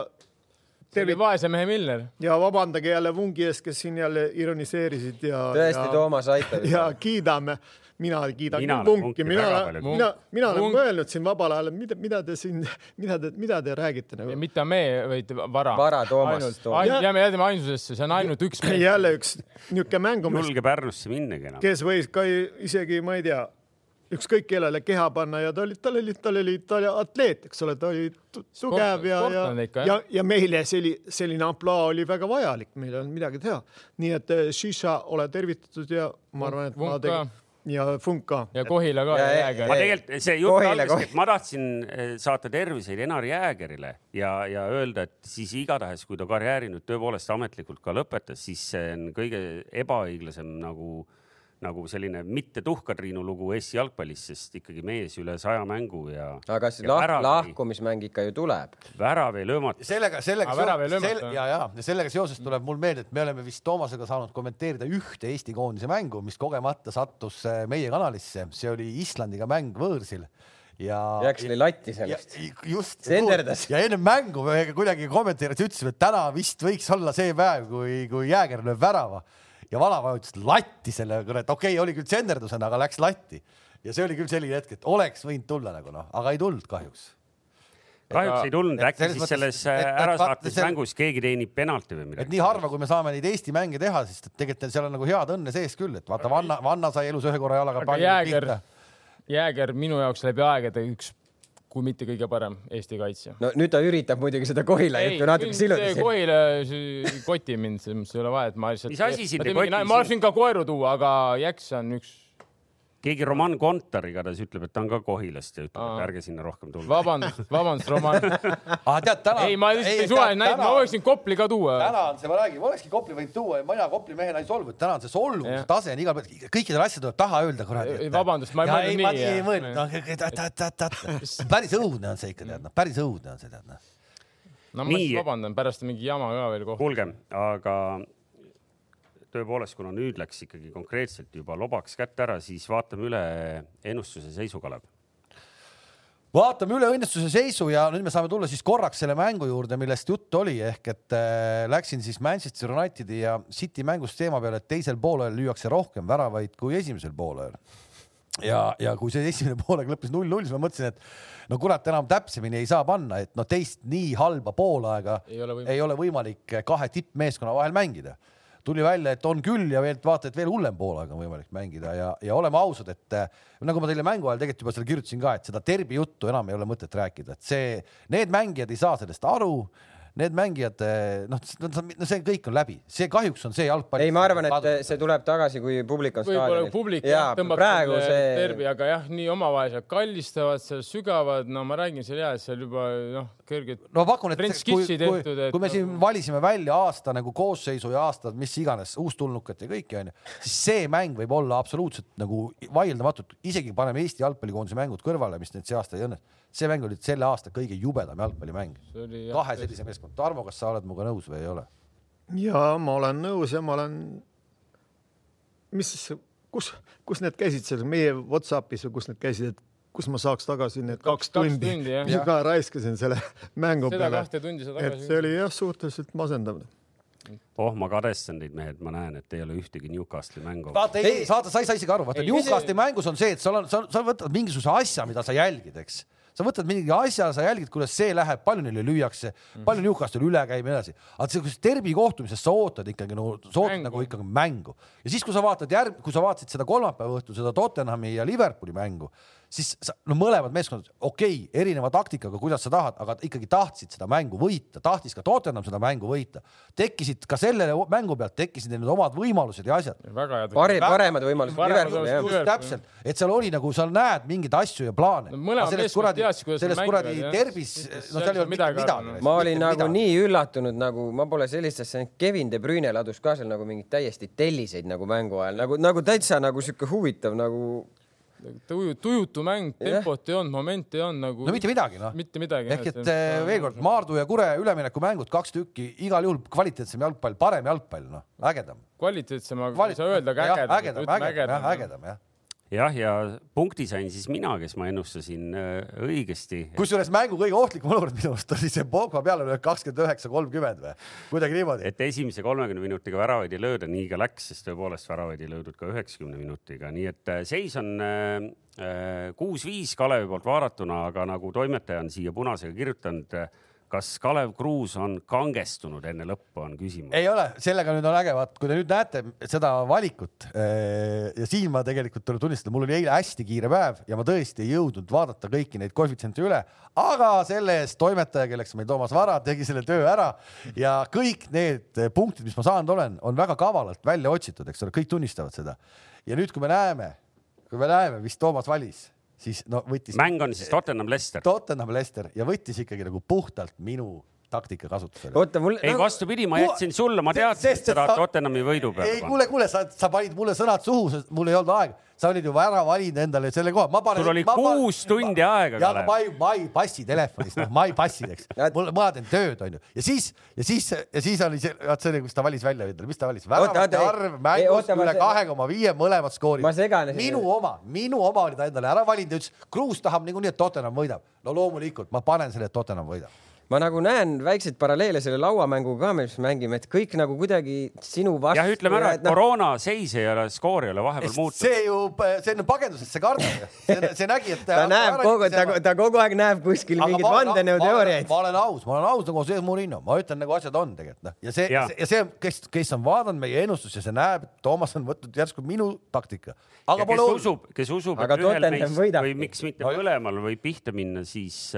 tervi vaese mehe Miller .
ja vabandage jälle Vungi ees , kes siin jälle ironiseerisid ja .
tõesti Toomas aitab .
ja kiidame , mina kiidan
Mina
mina
olen
Vunki ,
Vunki
mina
väga , palju
mina , mina olen
Vunk-
mõelnud siin vabal ajal , mida , mida te siin , mida te , mida te räägite nagu .
mitte me , vaid vara .
Vara Toomas,
ainult ,
Toomas.
jääme , jääme ainsusesse , see on ainult üks mees .
jälle üks niisugune mängumees ,
julge Pärnusse minnagi enam .
kes võis ka i- isegi , ma ei tea , ükskõik kellele keha panna ja ta oli , tal oli , tal oli , ta oli atleet , eks ole , ta oli tu- tugev ja , ja
sportlane , ikka,
ja
jah. ,
ja meile selli- , selline ampluaa oli väga vajalik , meil ei olnud midagi teha . nii et eh, Shisha , ole tervitatud ja ma arvan , et ma
Funk
tegin ja Funk ka .
ja Kohila ka
Ja-
ja
ja-
Jääger
ma
Ei,
tegelikult , see jutt
Kohile,
algas , et
Kohile.
ma tahtsin eh, saata terviseid Enar Jäägerile ja , ja öelda , et siis igatahes , kui ta karjääri nüüd tõepoolest ametlikult ka lõpetas , siis see on kõige ebaõiglasem nagu , nagu selline mitte tuhkatriinu lugu Eesti jalgpallis , sest ikkagi mees üle saja mängu ja .
aga see lah- , lahkumismäng ikka ju tuleb .
värav ei löömata .
sellega , sellega
Aga värav ei löömata.
ja , ja ja sellega seoses tuleb mul meelde , et me oleme vist Toomasega saanud kommenteerida ühte Eesti koondise mängu , mis kogemata sattus äh, meie kanalisse , see oli Islandiga mäng võõrsil ja .
Jääks oli latti
ja
sellest .
just .
Senderdas.
ja enne mängu me kuidagi kommenteerides ütlesime , et täna vist võiks olla see päev , kui , kui Jääger lööb värava ja Vana vajutas latti selle , et okei okay, , oli küll senderdusena , aga läks latti ja see oli küll selline hetk , et oleks võinud tulla nagu noh , aga ei tulnud kahjuks .
kahjuks ei tulnud ,
et
äkki
selles
siis
mõttes-
selles äh,
et- et vaata,
ärasaates
see-
mängus keegi teenib penalti või
et
midagi .
nii harva , kui me saame neid Eesti mänge teha , sest et tegelikult seal on nagu head õnne sees küll , et vaata Vanna , Vanna sai elus ühe korra jalaga
aga
palli
Jääger
pihta .,
Jääger minu jaoks läbi aegade üks , kui mitte kõige parem Eesti kaitsja .
no nüüd ta üritab muidugi seda Kohila juttu natuke silutada .
Kohila see- koti mind , selles mõttes ei ole vaja , et ma lihtsalt .
Mis asi sind ei koti
ma
siin?
oleksin ka koeru tuua , aga Jaks on üks ,
keegi Roman Kontar igatahes ütleb , et ta on ka Kohilast ja ütleb , et
Aa.
ärge sinna rohkem tulge .
vabandust , vabandust , Roman .
aga tead täna .
ei , ma lihtsalt ei suve näinud , ma oleksin Kopli ka tuua .
täna on see , ma räägin , ma olekski Kopli võinud tuua ja mina Kopli mehena ei solvu , et täna on see solvuse
Jah.
tase on igal pool , kõikidel asjadel tuleb taha öelda kuradi
Ei, . vabandust, ma ei mõelnud nii,
ei
jah.
mõelnud , noh , päris õudne on see ikka tead , noh , päris õudne on see tead , noh .
no ma
Nii.
lihtsalt vabandan , pärast on mingi jama ka veel kohta .
kuulge , aga tõepoolest , kuna nüüd läks ikkagi konkreetselt juba lobaks kätte ära , siis vaatame üle ennustuse seisu , Kalev .
vaatame üle õnnestuse seisu ja nüüd me saame tulla siis korraks selle mängu juurde , millest juttu oli , ehk et äh, läksin siis Manchester Unitedi ja City mängust teema peale , et teisel poolel lüüakse rohkem väravaid kui esimesel poolel . ja , ja kui see esimene poolega lõppes null-null , siis ma mõtlesin , et no kurat , enam täpsemini ei saa panna , et noh , teist nii halba poolaega
Ei ole võimalik.
ei ole võimalik kahe tippmeeskonna vahel mängida . tuli välja , et on küll ja veel vaata , et veel hullem poolega on võimalik mängida ja , ja oleme ausad , et äh, nagu ma teile mängu ajal tegelikult juba seal kirjutasin ka , et seda derbi juttu enam ei ole mõtet rääkida , et see , need mängijad ei saa sellest aru . Need mängijad , noh , no see kõik on läbi , see kahjuks on see jalgpall .
ei , ma arvan , et eh, see tuleb tagasi , kui publik on
võib-olla
staadionil .
publik jah,
ja
tõmbab
praegu
selle see... tervi ,
see ,
aga jah , nii omavahel seal kallistavad , seal sügavad , no ma räägin seal ja seal juba noh , kõrged .
no ma pakun , et
Prints
kui,
Kitsi
kui,
tehtud, et
kui me
nagu-
siin valisime välja aasta nagu koosseisu ja aastad , mis iganes , uustulnukat ja kõike onju , siis see mäng võib olla absoluutselt nagu vaieldamatult , isegi paneme Eesti jalgpallikoondise mängud kõrvale , mis nüüd see aasta ei õnnestunud . see mäng oli selle aasta kõige jubedam jalgpallimäng . kahe sellise meeskond . Tarmo , kas sa oled minuga nõus või ei ole ?
ja ma olen nõus ja ma olen , mis , kus , kus need käisid seal meie Whatsappis või kus need käisid , et kus ma saaks tagasi need
Kaks-
kaks,
kaks
tundi,
tundi, jah.
mis ma raiskasin selle mängu
seda
peale .
kahte tundi sa
et see
tagasi .
oli jah , suhteliselt masendav .
oh , ma kadestan teid , mehed , ma näen , et ei ole ühtegi Newcastle'i mängu .
vaata , ei , saata , sa ei saa isegi aru , vaata
Ei,
Newcastli mängus on see , et sul on , sa , sa võtad mingisuguse asja , mida sa jälgid , eks . sa võtad mingi asja , sa jälgid , kuidas see läheb , palju neile lüüakse , palju Newcastil üle käib ja nii edasi . aga sellises derbi kohtumises sa ootad ikkagi no , sa ootad
Mängu.
nagu ikkagi mängu ja siis , kui sa vaatad järg , kui sa vaatasid seda kolmapäeva õhtul seda Tottenhami ja Liverpooli mängu , siis sa, no mõlemad meeskonnad , okei okay, , erineva taktikaga , kuidas sa tahad , aga ikkagi tahtsid seda mängu võita , tahtis ka Tottenham seda mängu võita . tekkisid ka selle mängu pealt , tekkisid neil need omad võimalused ja asjad .
väga head .
pare- ,
Vä-
paremad võimalused
Paremad
Liverpooli jah .
võimalused. Liverpool,
täpselt , et seal oli nagu sa näed mingeid asju ja plaane
No mõlemad
sellest
meeskonnad
kuradi
teadsid, , kuidas nad
sellest
mängivad,
kuradi
jah.
derbis ,
Sest
no
seal
seal ei
ei
olnud mitte
midagi
midagi
arvanud. .
ma olin nagu nii üllatunud , nagu ma pole sellistesse , Kevin De Bruyne ladus ka seal nagu mingeid täiesti telliseid nagu mängu ajal nagu , nagu täitsa nagu sihuke huvitav nagu
tuju , tujutu mäng , tempot ei olnud , momenti ei olnud nagu .
no mitte midagi noh .
mitte midagi .
ehk et eh, veel kord Maardu ja Kure üleminekumängud kaks tükki , igal juhul kvaliteetsem jalgpall , parem jalgpall , noh , ägedam .
kvaliteetsem , aga Kvalit... ei saa öelda , aga ägedam .
ägedam , ägedam , jah , ägedam jah .
jah , ja punkti sain siis mina , kes ma ennustasin äh, õigesti .
kusjuures mängu kõige ohtlikum olukord minu arust oli see Pogba pealelöök kakskümmend üheksa , kolmkümmend või kuidagi niimoodi .
et esimese kolmekümne minutiga väravaid ei lööda , nii ka läks , sest tõepoolest väravaid ei löödud ka üheksakümne minutiga , nii et äh, seis on kuus-viis Kalevi poolt vaadatuna , aga nagu toimetaja on siia punasega kirjutanud , kas Kalev Kruus on kangestunud enne lõppu , on küsimus .
ei ole , sellega nüüd on äge , vaat kui te nüüd näete seda valikut eh, ja siin ma tegelikult tuleb tunnistada , mul oli eile hästi kiire päev ja ma tõesti ei jõudnud vaadata kõiki neid koefitsiente üle , aga selle eest toimetaja , kelleks on meil Toomas Vara , tegi selle töö ära ja kõik need punktid , mis ma saanud olen , on väga kavalalt välja otsitud , eks ole , kõik tunnistavad seda . ja nüüd , kui me näeme , kui me näeme , mis Toomas valis , siis no võttis
mäng on siis Tottenham Leicester .
Tottenham Lester ja võttis ikkagi nagu puhtalt minu taktika kasutusele .
oota mul nagu
ei , vastupidi , ma jätsin sulle , ma teadsin , et sa tahad Tottenhami võidu
ei
peale panna .
kuule , kuule , sa , sa panid mulle sõnad suhu , mul ei olnud aega , sa olid juba ära valinud endale selle koha , ma panen .
Sul oli kuus tundi aega,
ja
Kalev.
ma ei , ma ei passi telefonis , noh , ma ei passi , eks . mul , ma teen tööd , onju . ja siis , ja siis , ja siis oli see , vot see oli , kus ta valis välja , mis ta valis , väravate
oota, ei.
arv
Ei,
mängus
oota, ma
üle
se-
kahe koma viie mõlemad skoorid .
Ma segan-
minu oma , minu oma oli ta endale ära valinud ja ütles , Kruus tahab niikuinii , et Tottenham võidab . no loomulikult , ma panen selle , et Tottenham võidab .
ma nagu näen väikseid paralleele selle lauamänguga ka , mis me mängime , et kõik nagu kuidagi sinu vastu . noh,
jah , ütleme ära , et korona seis ei ole , skoor ei ole vahepeal muutunud .
see ju , see on pagendusest , see kardab ju . see see nägi , et .
ta näeb kogu , ta , ta kogu aeg näeb kuskil
Aga
mingeid
ma olen-
vandenõuteooriaid
ma . olen aus , ma olen aus nagu see Murillo , ma ütlen nagu asjad on tegelikult noh , ja see
Jaa.
ja. ja see , kes , kes on vaadanud meie ennustust ja see näeb , et Toomas on võtnud järsku minu taktika .
ja
aga
kes
pole hullu .
usub , kes usub ,
Aga
et ühel
Tottenham
neist
võidab.
või miks mitte mõlemal võib pihta minna , siis ,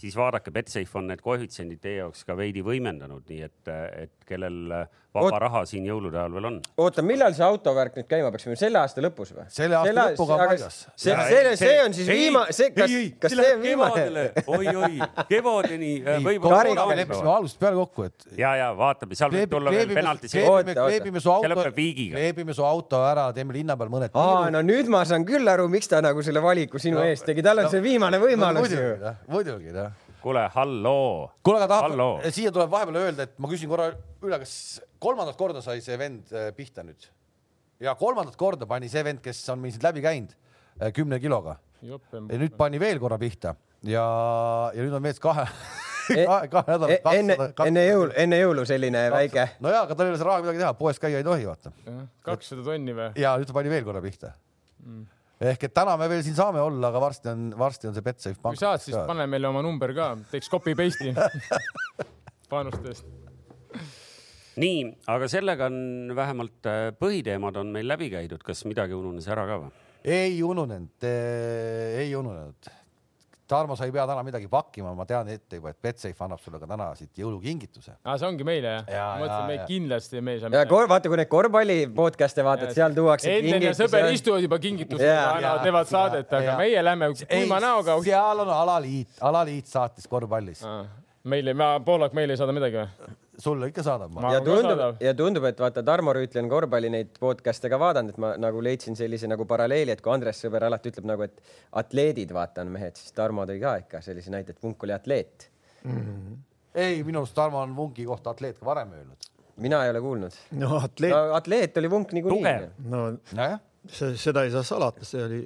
siis vaadake , Betsafe on need koefitsiendid teie jaoks ka veidi võimendanud , nii et , et kellel äh, vaba
Oot-
raha siin jõulude ajal veel on .
oota , millal see autovärk nüüd käima peaks minema , selle aasta lõpus või ?
Selle aasta lõpuga on paigas.
see , see , see on siis viimane , see , kas , kas see on viimane ?
oi-oi , kevadeni äh,
Kariga
leppisime
võib-olla .
algusest peale kokku , et
ja , ja vaatame , seal võib tulla veel penalti see .
kleebi-
kleebime , kleebime
Oota, oota.
su auto
lõpeb , viigiga.
kleebime su auto ära , teeme linna peal mõned
aa , no nüüd ma saan küll aru , miks ta nagu selle valiku sinu
No,
eest tegi , tal on
no,
see viimane võimalus ju
muidugi . noh , muidugi noh .
kuule , halloo .
kuule , aga
Halloo.
tahab , siia tuleb vahepeal öelda , et ma küsin korra üle , kas kolmandat korda sai see vend eh, pihta nüüd ? ja kolmandat korda pani see vend , kes on meil siit läbi käinud eh, kümne kiloga ja nüüd pani veel korra pihta ja , ja nüüd on mees kahe ,
E-
kahe , kahe nädala
E- enne , enne jõul , enne jõulu selline väike .
no jaa , aga tal ei ole selle rahaga midagi teha , poes käia ei tohi , vaata .
kakssada tonni või ?
ja nüüd ta pani veel korra pihta mm. . ehk et täna me veel siin saame olla , aga varsti on , varsti on see Betsafe
kui saad , siis . pane meile oma number ka , teeks copy paste'i panustest .
nii , aga sellega on vähemalt äh, põhiteemad on meil läbi käidud , kas midagi ununes ära ka või ?
ei ununenud , ei ununenud . Tarmo , sa ei pea täna midagi pakkima , ma tean ette juba , et Betsafe annab sulle ka täna siit jõulukingituse .
aa , see ongi meile
Jaa,
jah ? ma mõtlesin ,
jaa,
et me
jaa.
kindlasti , me ei saa .
ja kor- , vaata , kui neid korvpalli podcast'e vaatad , seal tuuakse .
Ellen ja sõber istuvad juba kingitusega
Jaa. ,
annavad , teevad saadet , aga meie lähme kuima näoga . Ah.
seal on alaliit , alaliit saatis korvpallis ,
meile , Poolak meile ei saada midagi või ?
sulle ikka saadab .
Ma-
ja
on ka
tundub
saadav. ,
ja tundub , et vaata , Tarmo Rüütli on korvpalli neid podcast'e ka vaadanud , et ma nagu leidsin sellise nagu paralleeli , et kui Andres Sõber alati ütleb nagu , et atleedid , vaata , on mehed , siis Tarmo tõi ka ikka sellise näite , et Vunk oli atleet .
ei , minu arust Tarmo on Vunki kohta atleet ka varem öelnud .
mina ei ole kuulnud .
no atleet no. ,
atleet oli Vunk niikuinii
Tugev. .
no
nojah ,
see, seda ei saa salata , see oli ,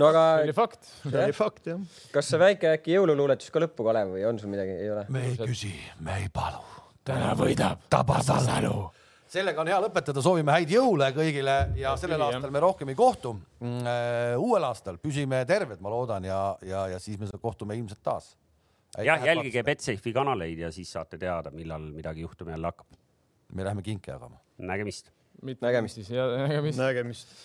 no aga
see oli fakt .
see oli fakt jah .
kas see väike äkki jõululuuletus ka lõppu , Kalev , või on sul midagi , ei ole ?
me ei küsi , me ei palu .
täna võidab .
tabasalu . sellega on hea lõpetada , soovime häid jõule kõigile ja sellel
tüli, jah.
aastal me rohkem ei kohtu . uuel aastal püsime terved , ma loodan ja , ja , ja siis me kohtume ilmselt taas .
jah , jälgige . Betsafe'i kanaleid ja siis saate teada , millal midagi juhtuma jälle hakkab .
me läheme kinke jagama .
nägemist .
mitte
Nägemist.
nägemist ja nägemist .
nägemist .